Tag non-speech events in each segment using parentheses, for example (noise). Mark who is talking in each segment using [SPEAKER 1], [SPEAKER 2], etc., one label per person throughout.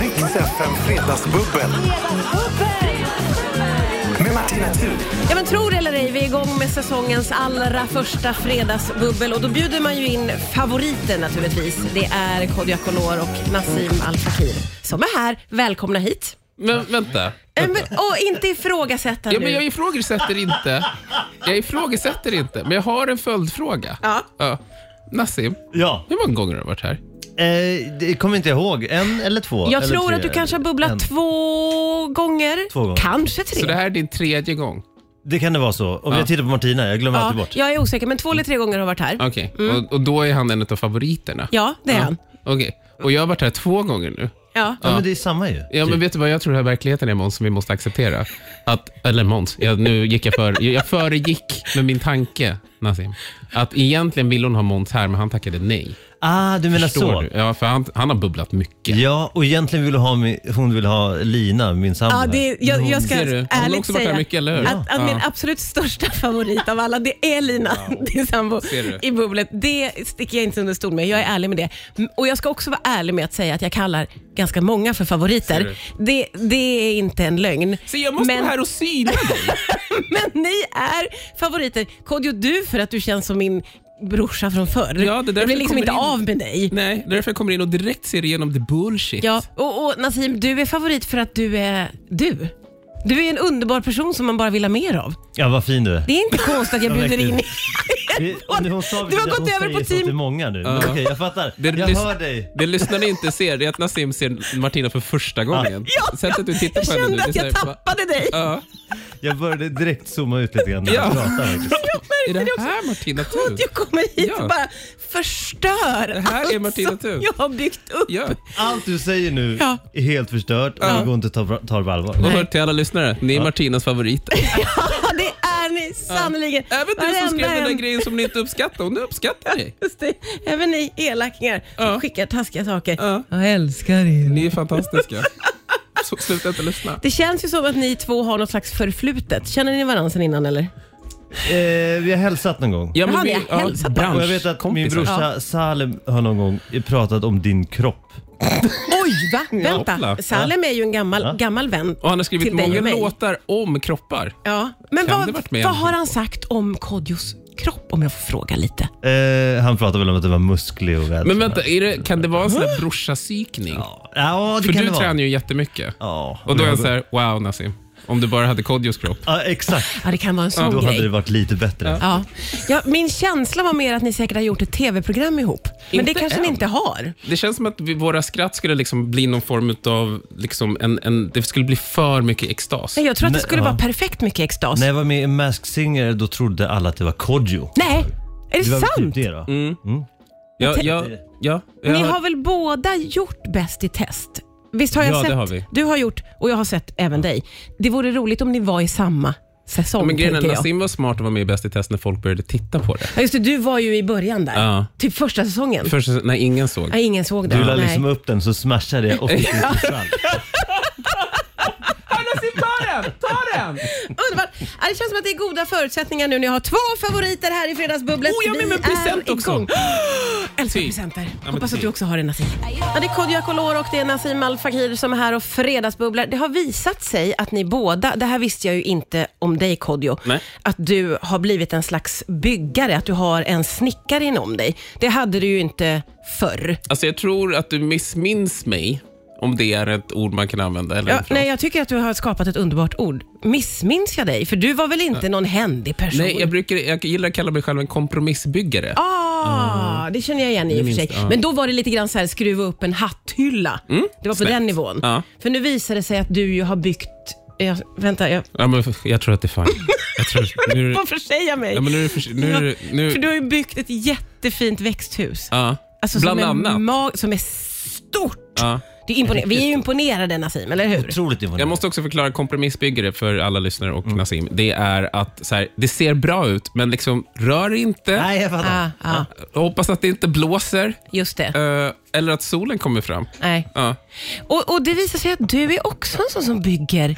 [SPEAKER 1] Riks FM Fredagsbubbel med Martina Thun.
[SPEAKER 2] Ja, men tror det eller ej, vi är igång med säsongens allra första fredagsbubbel och då bjuder man ju in favoriten naturligtvis. Det är Kodjo Akolor och Nassim Al Fakir som är här. Välkomna hit.
[SPEAKER 3] Men vänta.
[SPEAKER 2] Äh, Men, och inte ifrågasätta
[SPEAKER 3] Ja,
[SPEAKER 2] nu.
[SPEAKER 3] men jag ifrågasätter inte. Jag ifrågasätter inte, men jag har en följdfråga.
[SPEAKER 2] Ja.
[SPEAKER 3] Nassim,
[SPEAKER 4] Ja,
[SPEAKER 3] hur många gånger har du varit här?
[SPEAKER 4] eh, det kommer inte ihåg. En eller två?
[SPEAKER 2] Jag
[SPEAKER 4] eller
[SPEAKER 2] tror
[SPEAKER 4] tre,
[SPEAKER 2] att du kanske har bubblat
[SPEAKER 4] en.
[SPEAKER 2] två gånger.
[SPEAKER 4] Två gånger.
[SPEAKER 2] Kanske tre.
[SPEAKER 3] Så det här är din tredje gång?
[SPEAKER 4] Det kan det vara så. Om
[SPEAKER 3] Ja.
[SPEAKER 4] jag tittar på Martina, jag glömmer
[SPEAKER 2] ja,
[SPEAKER 4] alltid bort.
[SPEAKER 2] jag är osäker, men två eller tre gånger har jag varit här.
[SPEAKER 3] Okej, och, och då är han en av favoriterna?
[SPEAKER 2] Mm. Ja, det är han.
[SPEAKER 3] Okej, och jag har varit här två gånger nu.
[SPEAKER 2] Ja.
[SPEAKER 4] Ja, men det är samma ju. Typ.
[SPEAKER 3] Ja, men vet du vad jag tror här verkligheten är Måns, som vi måste acceptera? Att, eller Måns, jag, nu gick jag för, jag föregick med min tanke, Nassim. Att egentligen ville hon ha Måns här, men han tackade nej.
[SPEAKER 4] Ah, du menar
[SPEAKER 3] Förstår
[SPEAKER 4] så.
[SPEAKER 3] du? Ja, för han, han har bubblat mycket.
[SPEAKER 4] Ja, och egentligen vill hon ha, mi- hon vill ha Lina, min sambo.
[SPEAKER 2] Ja,
[SPEAKER 4] här.
[SPEAKER 2] Ah, det, jag, jag ska
[SPEAKER 3] Mm. Ser du? Hon har
[SPEAKER 2] ärligt
[SPEAKER 3] också varit
[SPEAKER 2] säga
[SPEAKER 3] här mycket, eller hur?
[SPEAKER 2] att, att
[SPEAKER 3] Ja.
[SPEAKER 2] min absolut största (laughs) favorit av alla, det är Lina, (laughs) din sambo,
[SPEAKER 3] Ser du?
[SPEAKER 2] i bubblet. Det sticker jag inte under stol med. Jag är ärlig med det. M- Och Jag ska också vara ärlig med att säga att jag kallar ganska många för favoriter. Det, det är inte en lögn.
[SPEAKER 3] Så jag måste
[SPEAKER 2] men,
[SPEAKER 3] vara här och syna dig.
[SPEAKER 2] (laughs) men ni är favoriter. Kodjo, du för att du känns som min brorsa från förr.
[SPEAKER 3] Ja, det är därför
[SPEAKER 2] jag blir
[SPEAKER 3] jag
[SPEAKER 2] liksom
[SPEAKER 3] kommer
[SPEAKER 2] inte
[SPEAKER 3] in.
[SPEAKER 2] av med dig.
[SPEAKER 3] Nej, därför jag kommer in och direkt ser igenom the bullshit.
[SPEAKER 2] Ja, och, och Nassim, du är favorit för att du är du. Du är en underbar person som man bara vill ha mer av.
[SPEAKER 4] Ja, vad fin du är.
[SPEAKER 2] Det är inte konstigt att jag bjuder in
[SPEAKER 4] verkligen. Det- hon sa-
[SPEAKER 2] Du har gått
[SPEAKER 4] hon
[SPEAKER 2] över
[SPEAKER 4] säger
[SPEAKER 2] på
[SPEAKER 4] så
[SPEAKER 2] team-
[SPEAKER 4] till många nu. Men Okej, jag fattar.
[SPEAKER 3] Det,
[SPEAKER 4] jag
[SPEAKER 3] lys-
[SPEAKER 4] hör dig.
[SPEAKER 3] det lyssnarna inte ser det är att Nassim ser Martina för första gången.
[SPEAKER 2] Ja,
[SPEAKER 3] Sättet du tittar
[SPEAKER 2] (laughs) Jag
[SPEAKER 3] på henne nu,
[SPEAKER 2] kände
[SPEAKER 3] det
[SPEAKER 2] att
[SPEAKER 3] är så här,
[SPEAKER 2] jag tappade dig. (laughs)
[SPEAKER 3] bara, Ja,
[SPEAKER 4] Jag började direkt zooma ut lite grann när
[SPEAKER 3] Ja.
[SPEAKER 4] jag pratade. faktiskt.
[SPEAKER 3] är det här Martina Thun?
[SPEAKER 2] Jag kommer hit och
[SPEAKER 3] Ja.
[SPEAKER 2] bara förstör
[SPEAKER 3] Det här är
[SPEAKER 2] allt
[SPEAKER 3] Martina
[SPEAKER 2] som
[SPEAKER 3] Thun.
[SPEAKER 2] jag har byggt upp.
[SPEAKER 3] Ja.
[SPEAKER 4] Allt du säger nu
[SPEAKER 2] Ja.
[SPEAKER 4] är helt förstört och det går inte att ta, ta det på allvar.
[SPEAKER 3] Och hör till alla lyssnare, ni är Martinas favoriter.
[SPEAKER 2] Ja, det är ni sannerligen.
[SPEAKER 3] Även du som skrev den där
[SPEAKER 2] en.
[SPEAKER 3] grejen som ni inte uppskattar, hon uppskattar dig.
[SPEAKER 2] Just det. Även ni elakingar som
[SPEAKER 3] Ja.
[SPEAKER 2] skickar taskiga saker.
[SPEAKER 3] Ja.
[SPEAKER 2] Jag älskar er.
[SPEAKER 3] Ni är fantastiska. Så, sluta inte lyssna.
[SPEAKER 2] Det känns ju som att ni två har något slags förflutet. Känner ni varandra sen innan eller?
[SPEAKER 4] Eh, vi har hälsat någon gång.
[SPEAKER 3] Ja,
[SPEAKER 2] Jaha, ni har hälsat på.
[SPEAKER 4] Och jag vet att min brorsa Salem har någon gång pratat om din kropp.
[SPEAKER 2] Oj, va? Vänta.
[SPEAKER 3] hoppla.
[SPEAKER 2] Salem är ju en gammal,
[SPEAKER 4] Ja.
[SPEAKER 2] gammal vän
[SPEAKER 3] Och han har skrivit
[SPEAKER 2] till dig
[SPEAKER 3] många
[SPEAKER 2] och mig.
[SPEAKER 3] låtar om kroppar.
[SPEAKER 2] Ja. Men
[SPEAKER 3] Kan
[SPEAKER 2] vad,
[SPEAKER 3] det varit med
[SPEAKER 2] vad
[SPEAKER 3] en
[SPEAKER 2] har
[SPEAKER 3] till
[SPEAKER 2] han
[SPEAKER 3] på?
[SPEAKER 2] sagt om Kodjos kropp om jag får fråga lite?
[SPEAKER 4] Eh, han pratade väl om att det var musklig och väl.
[SPEAKER 3] Men vänta, är det, kan det vara en sån där brorsapsykning?
[SPEAKER 4] Ja, det
[SPEAKER 3] För
[SPEAKER 4] kan
[SPEAKER 3] du
[SPEAKER 4] det vara.
[SPEAKER 3] tränar ju jättemycket.
[SPEAKER 4] Ja.
[SPEAKER 3] Och då är jag så här, wow Nassim, om du bara hade Kodjos kropp.
[SPEAKER 4] Ja, exakt.
[SPEAKER 2] Ja, det kan vara en sån
[SPEAKER 4] Då hade det
[SPEAKER 2] grej.
[SPEAKER 4] varit lite bättre.
[SPEAKER 2] Ja. Ja, min känsla var mer att ni säkert har gjort ett tv-program ihop. Men
[SPEAKER 3] Inte
[SPEAKER 2] det kanske ni
[SPEAKER 3] än.
[SPEAKER 2] inte har.
[SPEAKER 3] Det känns som att vi, våra skratt skulle liksom bli någon form av, liksom en, en, det skulle bli för mycket extas.
[SPEAKER 2] Nej, jag tror att det
[SPEAKER 4] Nej,
[SPEAKER 2] skulle
[SPEAKER 4] ja.
[SPEAKER 2] vara perfekt mycket extas.
[SPEAKER 4] När
[SPEAKER 2] Nej,
[SPEAKER 4] jag var med i Mask Singer då trodde alla att det var Kodjo.
[SPEAKER 2] är det,
[SPEAKER 4] var väl
[SPEAKER 2] sant?
[SPEAKER 4] Typ det då.
[SPEAKER 3] Mm. Ja, ja, ja, jag
[SPEAKER 2] Ni
[SPEAKER 3] har-
[SPEAKER 2] har väl båda gjort Bäst i test? Visst har jag
[SPEAKER 3] Ja, det
[SPEAKER 2] sett?
[SPEAKER 3] har vi.
[SPEAKER 2] Du har gjort och jag har sett även dig. Det vore roligt om ni var i samma säsong.
[SPEAKER 3] men grejen är,
[SPEAKER 2] tänker jag.
[SPEAKER 3] Nassim var smart och var med i Bäst i test när folk började titta på det.
[SPEAKER 2] Ja, just det, du var ju i början där.
[SPEAKER 3] Ja.
[SPEAKER 2] Typ första säsäsongen.
[SPEAKER 3] Först när ingen såg.
[SPEAKER 2] Nej, ingen såg det.
[SPEAKER 4] Du la
[SPEAKER 2] Nej.
[SPEAKER 4] liksom upp den så smashade
[SPEAKER 3] (laughs)
[SPEAKER 4] jag 80 000 fall.
[SPEAKER 3] Nassim, ta den! Ta den!
[SPEAKER 2] Underbart! Ja, det känns som att det är goda förutsättningar nu när jag har två favoriter här i Fredagsbubblet.
[SPEAKER 3] Oh, jag har med
[SPEAKER 2] Vi
[SPEAKER 3] mig en present
[SPEAKER 2] är
[SPEAKER 3] också.
[SPEAKER 2] igång. Älskar
[SPEAKER 3] Ty.
[SPEAKER 2] presenter.
[SPEAKER 3] men typ.
[SPEAKER 2] Hoppas att
[SPEAKER 3] ty.
[SPEAKER 2] du också har det Nassim. Ja, det är Kodjo Akolor och det är Nassim Al Fakir som är här och fredagsbubblar. Det har visat sig att ni båda, det här visste jag ju inte om dig Kodjo,
[SPEAKER 3] Nej.
[SPEAKER 2] att du har blivit en slags byggare, att du har en snickare inom dig. Det hade du ju inte förr.
[SPEAKER 3] Alltså jag tror att du missminns mig, om det är ett ord man kan använda. Eller
[SPEAKER 2] Ja,
[SPEAKER 3] en fras.
[SPEAKER 2] nej, jag tycker att du har skapat ett underbart ord. Missminns jag dig? För du var väl inte någon händig person?
[SPEAKER 3] nej jag, brukar, jag gillar att kalla mig själv en kompromissbyggare.
[SPEAKER 2] Ah, det känner jag igen i och för
[SPEAKER 3] minst,
[SPEAKER 2] sig.
[SPEAKER 3] ja.
[SPEAKER 2] Men då var det lite grann så här skruva upp en hatthylla. det var på
[SPEAKER 3] snällt.
[SPEAKER 2] den nivån.
[SPEAKER 3] Ja.
[SPEAKER 2] För nu visar det sig att du ju har byggt... Jag, vänta, jag,
[SPEAKER 3] Ja, men jag tror att det är fine. Jag tror, nu, är det-
[SPEAKER 2] varför säger jag mig?
[SPEAKER 3] ja, men nu, är det för- nu, är det- nu,
[SPEAKER 2] För du har ju byggt ett jättefint växthus.
[SPEAKER 3] Ja,
[SPEAKER 2] Alltså
[SPEAKER 3] bland
[SPEAKER 2] som Är
[SPEAKER 3] annat.
[SPEAKER 2] ma- som är stort.
[SPEAKER 3] Ja.
[SPEAKER 2] Det är imponer- Vi är ju imponerade Nassim, eller hur?
[SPEAKER 4] Otroligt imponerande.
[SPEAKER 3] Jag måste också förklara kompromissbyggare för alla lyssnare och
[SPEAKER 4] Mm.
[SPEAKER 3] Nassim. Det är att så här, det ser bra ut, men liksom rör inte.
[SPEAKER 4] Nej, jag fattar.
[SPEAKER 2] Ah, ah,
[SPEAKER 3] Hoppas att det inte blåser
[SPEAKER 2] just det.
[SPEAKER 3] eh, eller att solen kommer fram.
[SPEAKER 2] Nej.
[SPEAKER 3] Ja.
[SPEAKER 2] Och, och det visar sig att du är också en sån som bygger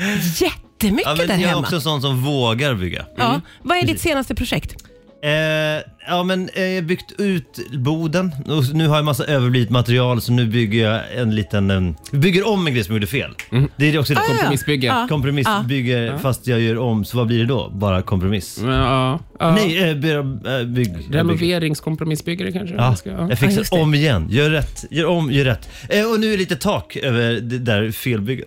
[SPEAKER 2] jättemycket
[SPEAKER 4] Ja,
[SPEAKER 2] där
[SPEAKER 4] men jag är Mm.
[SPEAKER 2] hemma.
[SPEAKER 4] också en sån som vågar bygga.
[SPEAKER 2] Ja. Vad är ditt senaste projekt?
[SPEAKER 4] Eh, ja, men eh, jag har byggt ut boden och nu har jag massa överblivet material så nu bygger jag en liten... em, Vi bygger om en grej som jag gjorde fel. Det är också lite
[SPEAKER 2] Ah, ja.
[SPEAKER 4] kompromiss.
[SPEAKER 3] Missbygge.
[SPEAKER 2] Ja.
[SPEAKER 4] Kompromiss bygger fast jag gör om, så vad blir det då? Bara kompromiss?
[SPEAKER 3] Men, ja, ja.
[SPEAKER 4] Nej, eh, by, eh, bygg... bygg-
[SPEAKER 3] Renoveringskompromissbyggare kanske?
[SPEAKER 4] Ja,
[SPEAKER 3] man ska- ja.
[SPEAKER 4] jag
[SPEAKER 2] Ja,
[SPEAKER 4] fixar
[SPEAKER 2] just det.
[SPEAKER 4] om igen. Gör rätt, gör om, gör rätt. Eh, och nu är lite tak över det där
[SPEAKER 2] (laughs)
[SPEAKER 4] felbygget.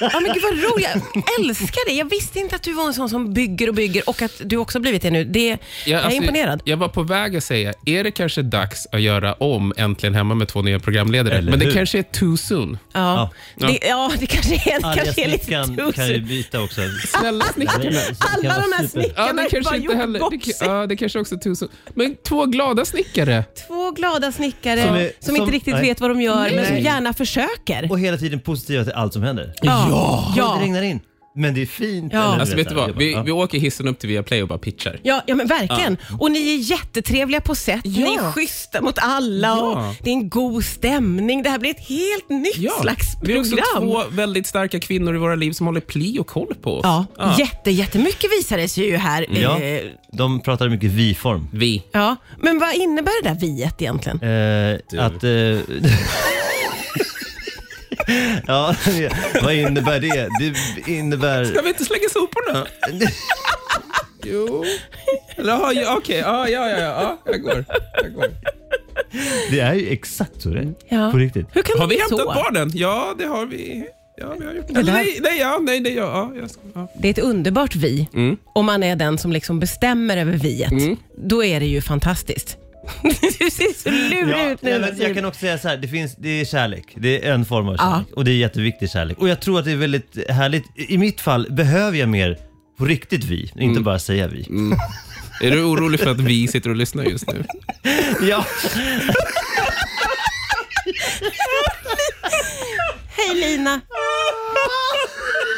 [SPEAKER 2] Ja, men gud vad roligt. Jag älskar det. Jag visste inte att du var en sån som bygger och bygger och att du också blivit det nu. Det, jag är
[SPEAKER 3] alltså,
[SPEAKER 2] imponerad.
[SPEAKER 3] Jag var på väg att säga, är det kanske dags att göra om Äntligen hemma med två nya programledare?
[SPEAKER 4] Eller
[SPEAKER 3] Men det
[SPEAKER 4] hur?
[SPEAKER 3] kanske är too soon.
[SPEAKER 2] Ja.
[SPEAKER 3] Ja.
[SPEAKER 2] Det, ja, det kanske är,
[SPEAKER 4] Arga
[SPEAKER 2] kanske är lite
[SPEAKER 4] snickaren kan ju
[SPEAKER 2] tusen.
[SPEAKER 4] byta också.
[SPEAKER 3] Snälla snickarna.
[SPEAKER 2] Alla de här
[SPEAKER 3] Ja,
[SPEAKER 2] snickarna
[SPEAKER 3] det
[SPEAKER 2] är bara
[SPEAKER 3] kanske inte heller. Det,
[SPEAKER 2] jordboxar.
[SPEAKER 3] ka- ja, det kanske också är too soon. Men två glada snickare.
[SPEAKER 2] Två glada snickare som,
[SPEAKER 4] Som är-
[SPEAKER 2] inte
[SPEAKER 4] som-
[SPEAKER 2] riktigt
[SPEAKER 4] nej.
[SPEAKER 2] vet vad de gör, men som
[SPEAKER 4] Nej.
[SPEAKER 2] gärna försöker.
[SPEAKER 4] Och hela tiden positiva till allt som händer.
[SPEAKER 2] Ja.
[SPEAKER 4] Det
[SPEAKER 2] Ja.
[SPEAKER 4] regnar in, men det är fint.
[SPEAKER 2] Ja.
[SPEAKER 4] Eller,
[SPEAKER 3] Alltså vet du
[SPEAKER 4] så här,
[SPEAKER 3] vad?
[SPEAKER 4] jag
[SPEAKER 3] Vi,
[SPEAKER 4] bara,
[SPEAKER 3] vi åker hissen upp till Viaplay och bara pitchar.
[SPEAKER 2] Ja, ja, men verkligen. Och ni är jättetrevliga på sätt. Ni är
[SPEAKER 3] Ja.
[SPEAKER 2] schyssta mot alla
[SPEAKER 3] Ja.
[SPEAKER 2] och det är en god stämning. Det här blir ett helt nytt slags
[SPEAKER 3] Vi är
[SPEAKER 2] program.
[SPEAKER 3] också två väldigt starka kvinnor i våra liv som håller pli och koll på oss.
[SPEAKER 2] Ja, jätte, jättemycket visade sig ju här.
[SPEAKER 4] Ja.
[SPEAKER 2] Eh,
[SPEAKER 4] De pratar mycket vi-form.
[SPEAKER 3] Vi.
[SPEAKER 2] ja. Men vad innebär det där viet egentligen?
[SPEAKER 4] Eh, att... Eh, (laughs) ja, vad innebär det? Det innebär...
[SPEAKER 3] Ska vi inte slänga
[SPEAKER 2] (laughs)
[SPEAKER 3] soporna? jo. Eller, ja, ja, okej. Ja, ja, ja, ja. Jag går. Jag går.
[SPEAKER 4] Det är ju exakt så det är.
[SPEAKER 2] Ja.
[SPEAKER 4] På riktigt.
[SPEAKER 2] Hur kan
[SPEAKER 3] Har
[SPEAKER 2] det
[SPEAKER 3] vi
[SPEAKER 2] bli
[SPEAKER 3] hämtat
[SPEAKER 2] så?
[SPEAKER 3] barnen? Ja, det har vi. Ja, vi har gjort det.
[SPEAKER 2] Eller-
[SPEAKER 3] Eller, nej, nej, ja, nej, nej, ja. ja, jag ska, ja.
[SPEAKER 2] Det är ett underbart vi.
[SPEAKER 4] Mm.
[SPEAKER 2] Om man är den som liksom bestämmer över viet, då är det ju fantastiskt. (laughs) du ser så lurig
[SPEAKER 4] Ja,
[SPEAKER 2] ut nu.
[SPEAKER 4] nej, men jag
[SPEAKER 2] Nassim.
[SPEAKER 4] kan också säga så här, det, finns, det är kärlek. Det är en form av
[SPEAKER 2] Ja.
[SPEAKER 4] kärlek och det är jätteviktig kärlek. Och jag tror att det är väldigt härligt. I mitt fall behöver jag mer på riktigt vi, inte
[SPEAKER 3] Mm.
[SPEAKER 4] bara säga vi.
[SPEAKER 3] Är du orolig för att vi sitter och lyssnar just nu?
[SPEAKER 4] (laughs) Ja.
[SPEAKER 2] Hej Lina!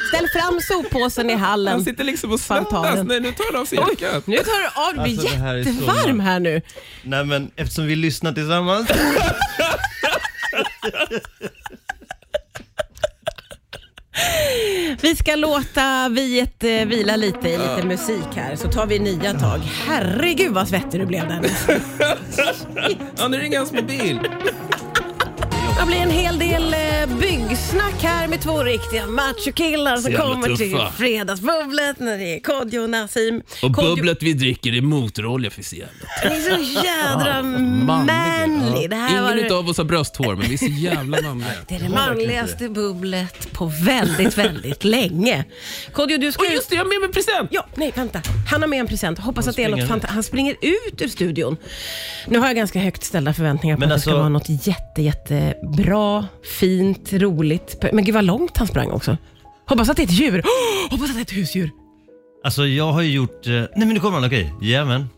[SPEAKER 2] Ställ fram soppåsen i hallen.
[SPEAKER 3] Han
[SPEAKER 4] Alltså,
[SPEAKER 3] sitter liksom och
[SPEAKER 2] Fantanen.
[SPEAKER 3] svettas. Nej, nu tar han av sig
[SPEAKER 2] Oj,
[SPEAKER 3] jackan.
[SPEAKER 2] nu tar du av, du blir
[SPEAKER 4] Alltså, det här är så
[SPEAKER 2] jättevarm här nu.
[SPEAKER 4] Nej men eftersom vi lyssnar tillsammans.
[SPEAKER 2] Vi ska låta viet eh, vila lite i lite musik här, så tar vi nya tag. Herregud vad svettig du blev där.
[SPEAKER 3] Ja, nu ringer hans mobil.
[SPEAKER 2] Det blir en hel del eh, byggsnack här med två riktiga machokillar som
[SPEAKER 3] jävla
[SPEAKER 2] kommer till
[SPEAKER 3] tuffa.
[SPEAKER 2] Fredagsbubblet när det är Kodjo och Nassim. Kodjo-
[SPEAKER 3] vi dricker är motorolja för jävligt.
[SPEAKER 2] Ni är så
[SPEAKER 3] Ah,
[SPEAKER 2] jädra manlig. Det här var det,
[SPEAKER 3] av oss har brösthår, men vi är så jävla manliga.
[SPEAKER 2] det, är det manligaste bubblet på väldigt, väldigt länge. Kodjo, du ska
[SPEAKER 3] Och
[SPEAKER 2] ut-
[SPEAKER 3] (laughs) just det, jag har med mig present!
[SPEAKER 2] Ja, nej vänta. Han har med en present. Hoppas att det är något
[SPEAKER 4] springer ut.
[SPEAKER 2] fantastiskt. Han springer ut ur studion. Nu har jag ganska högt ställda förväntningar på
[SPEAKER 4] Men
[SPEAKER 2] att det ska
[SPEAKER 4] alltså-
[SPEAKER 2] vara något jätte, jättebra, fint, roligt. Men gud vad långt han sprang också. Hoppas att det är ett djur. (gasps) Oh, hoppas att det är ett husdjur.
[SPEAKER 4] Alltså jag har ju gjort... eh, Nej men nu kommer han, okej. Jajamän.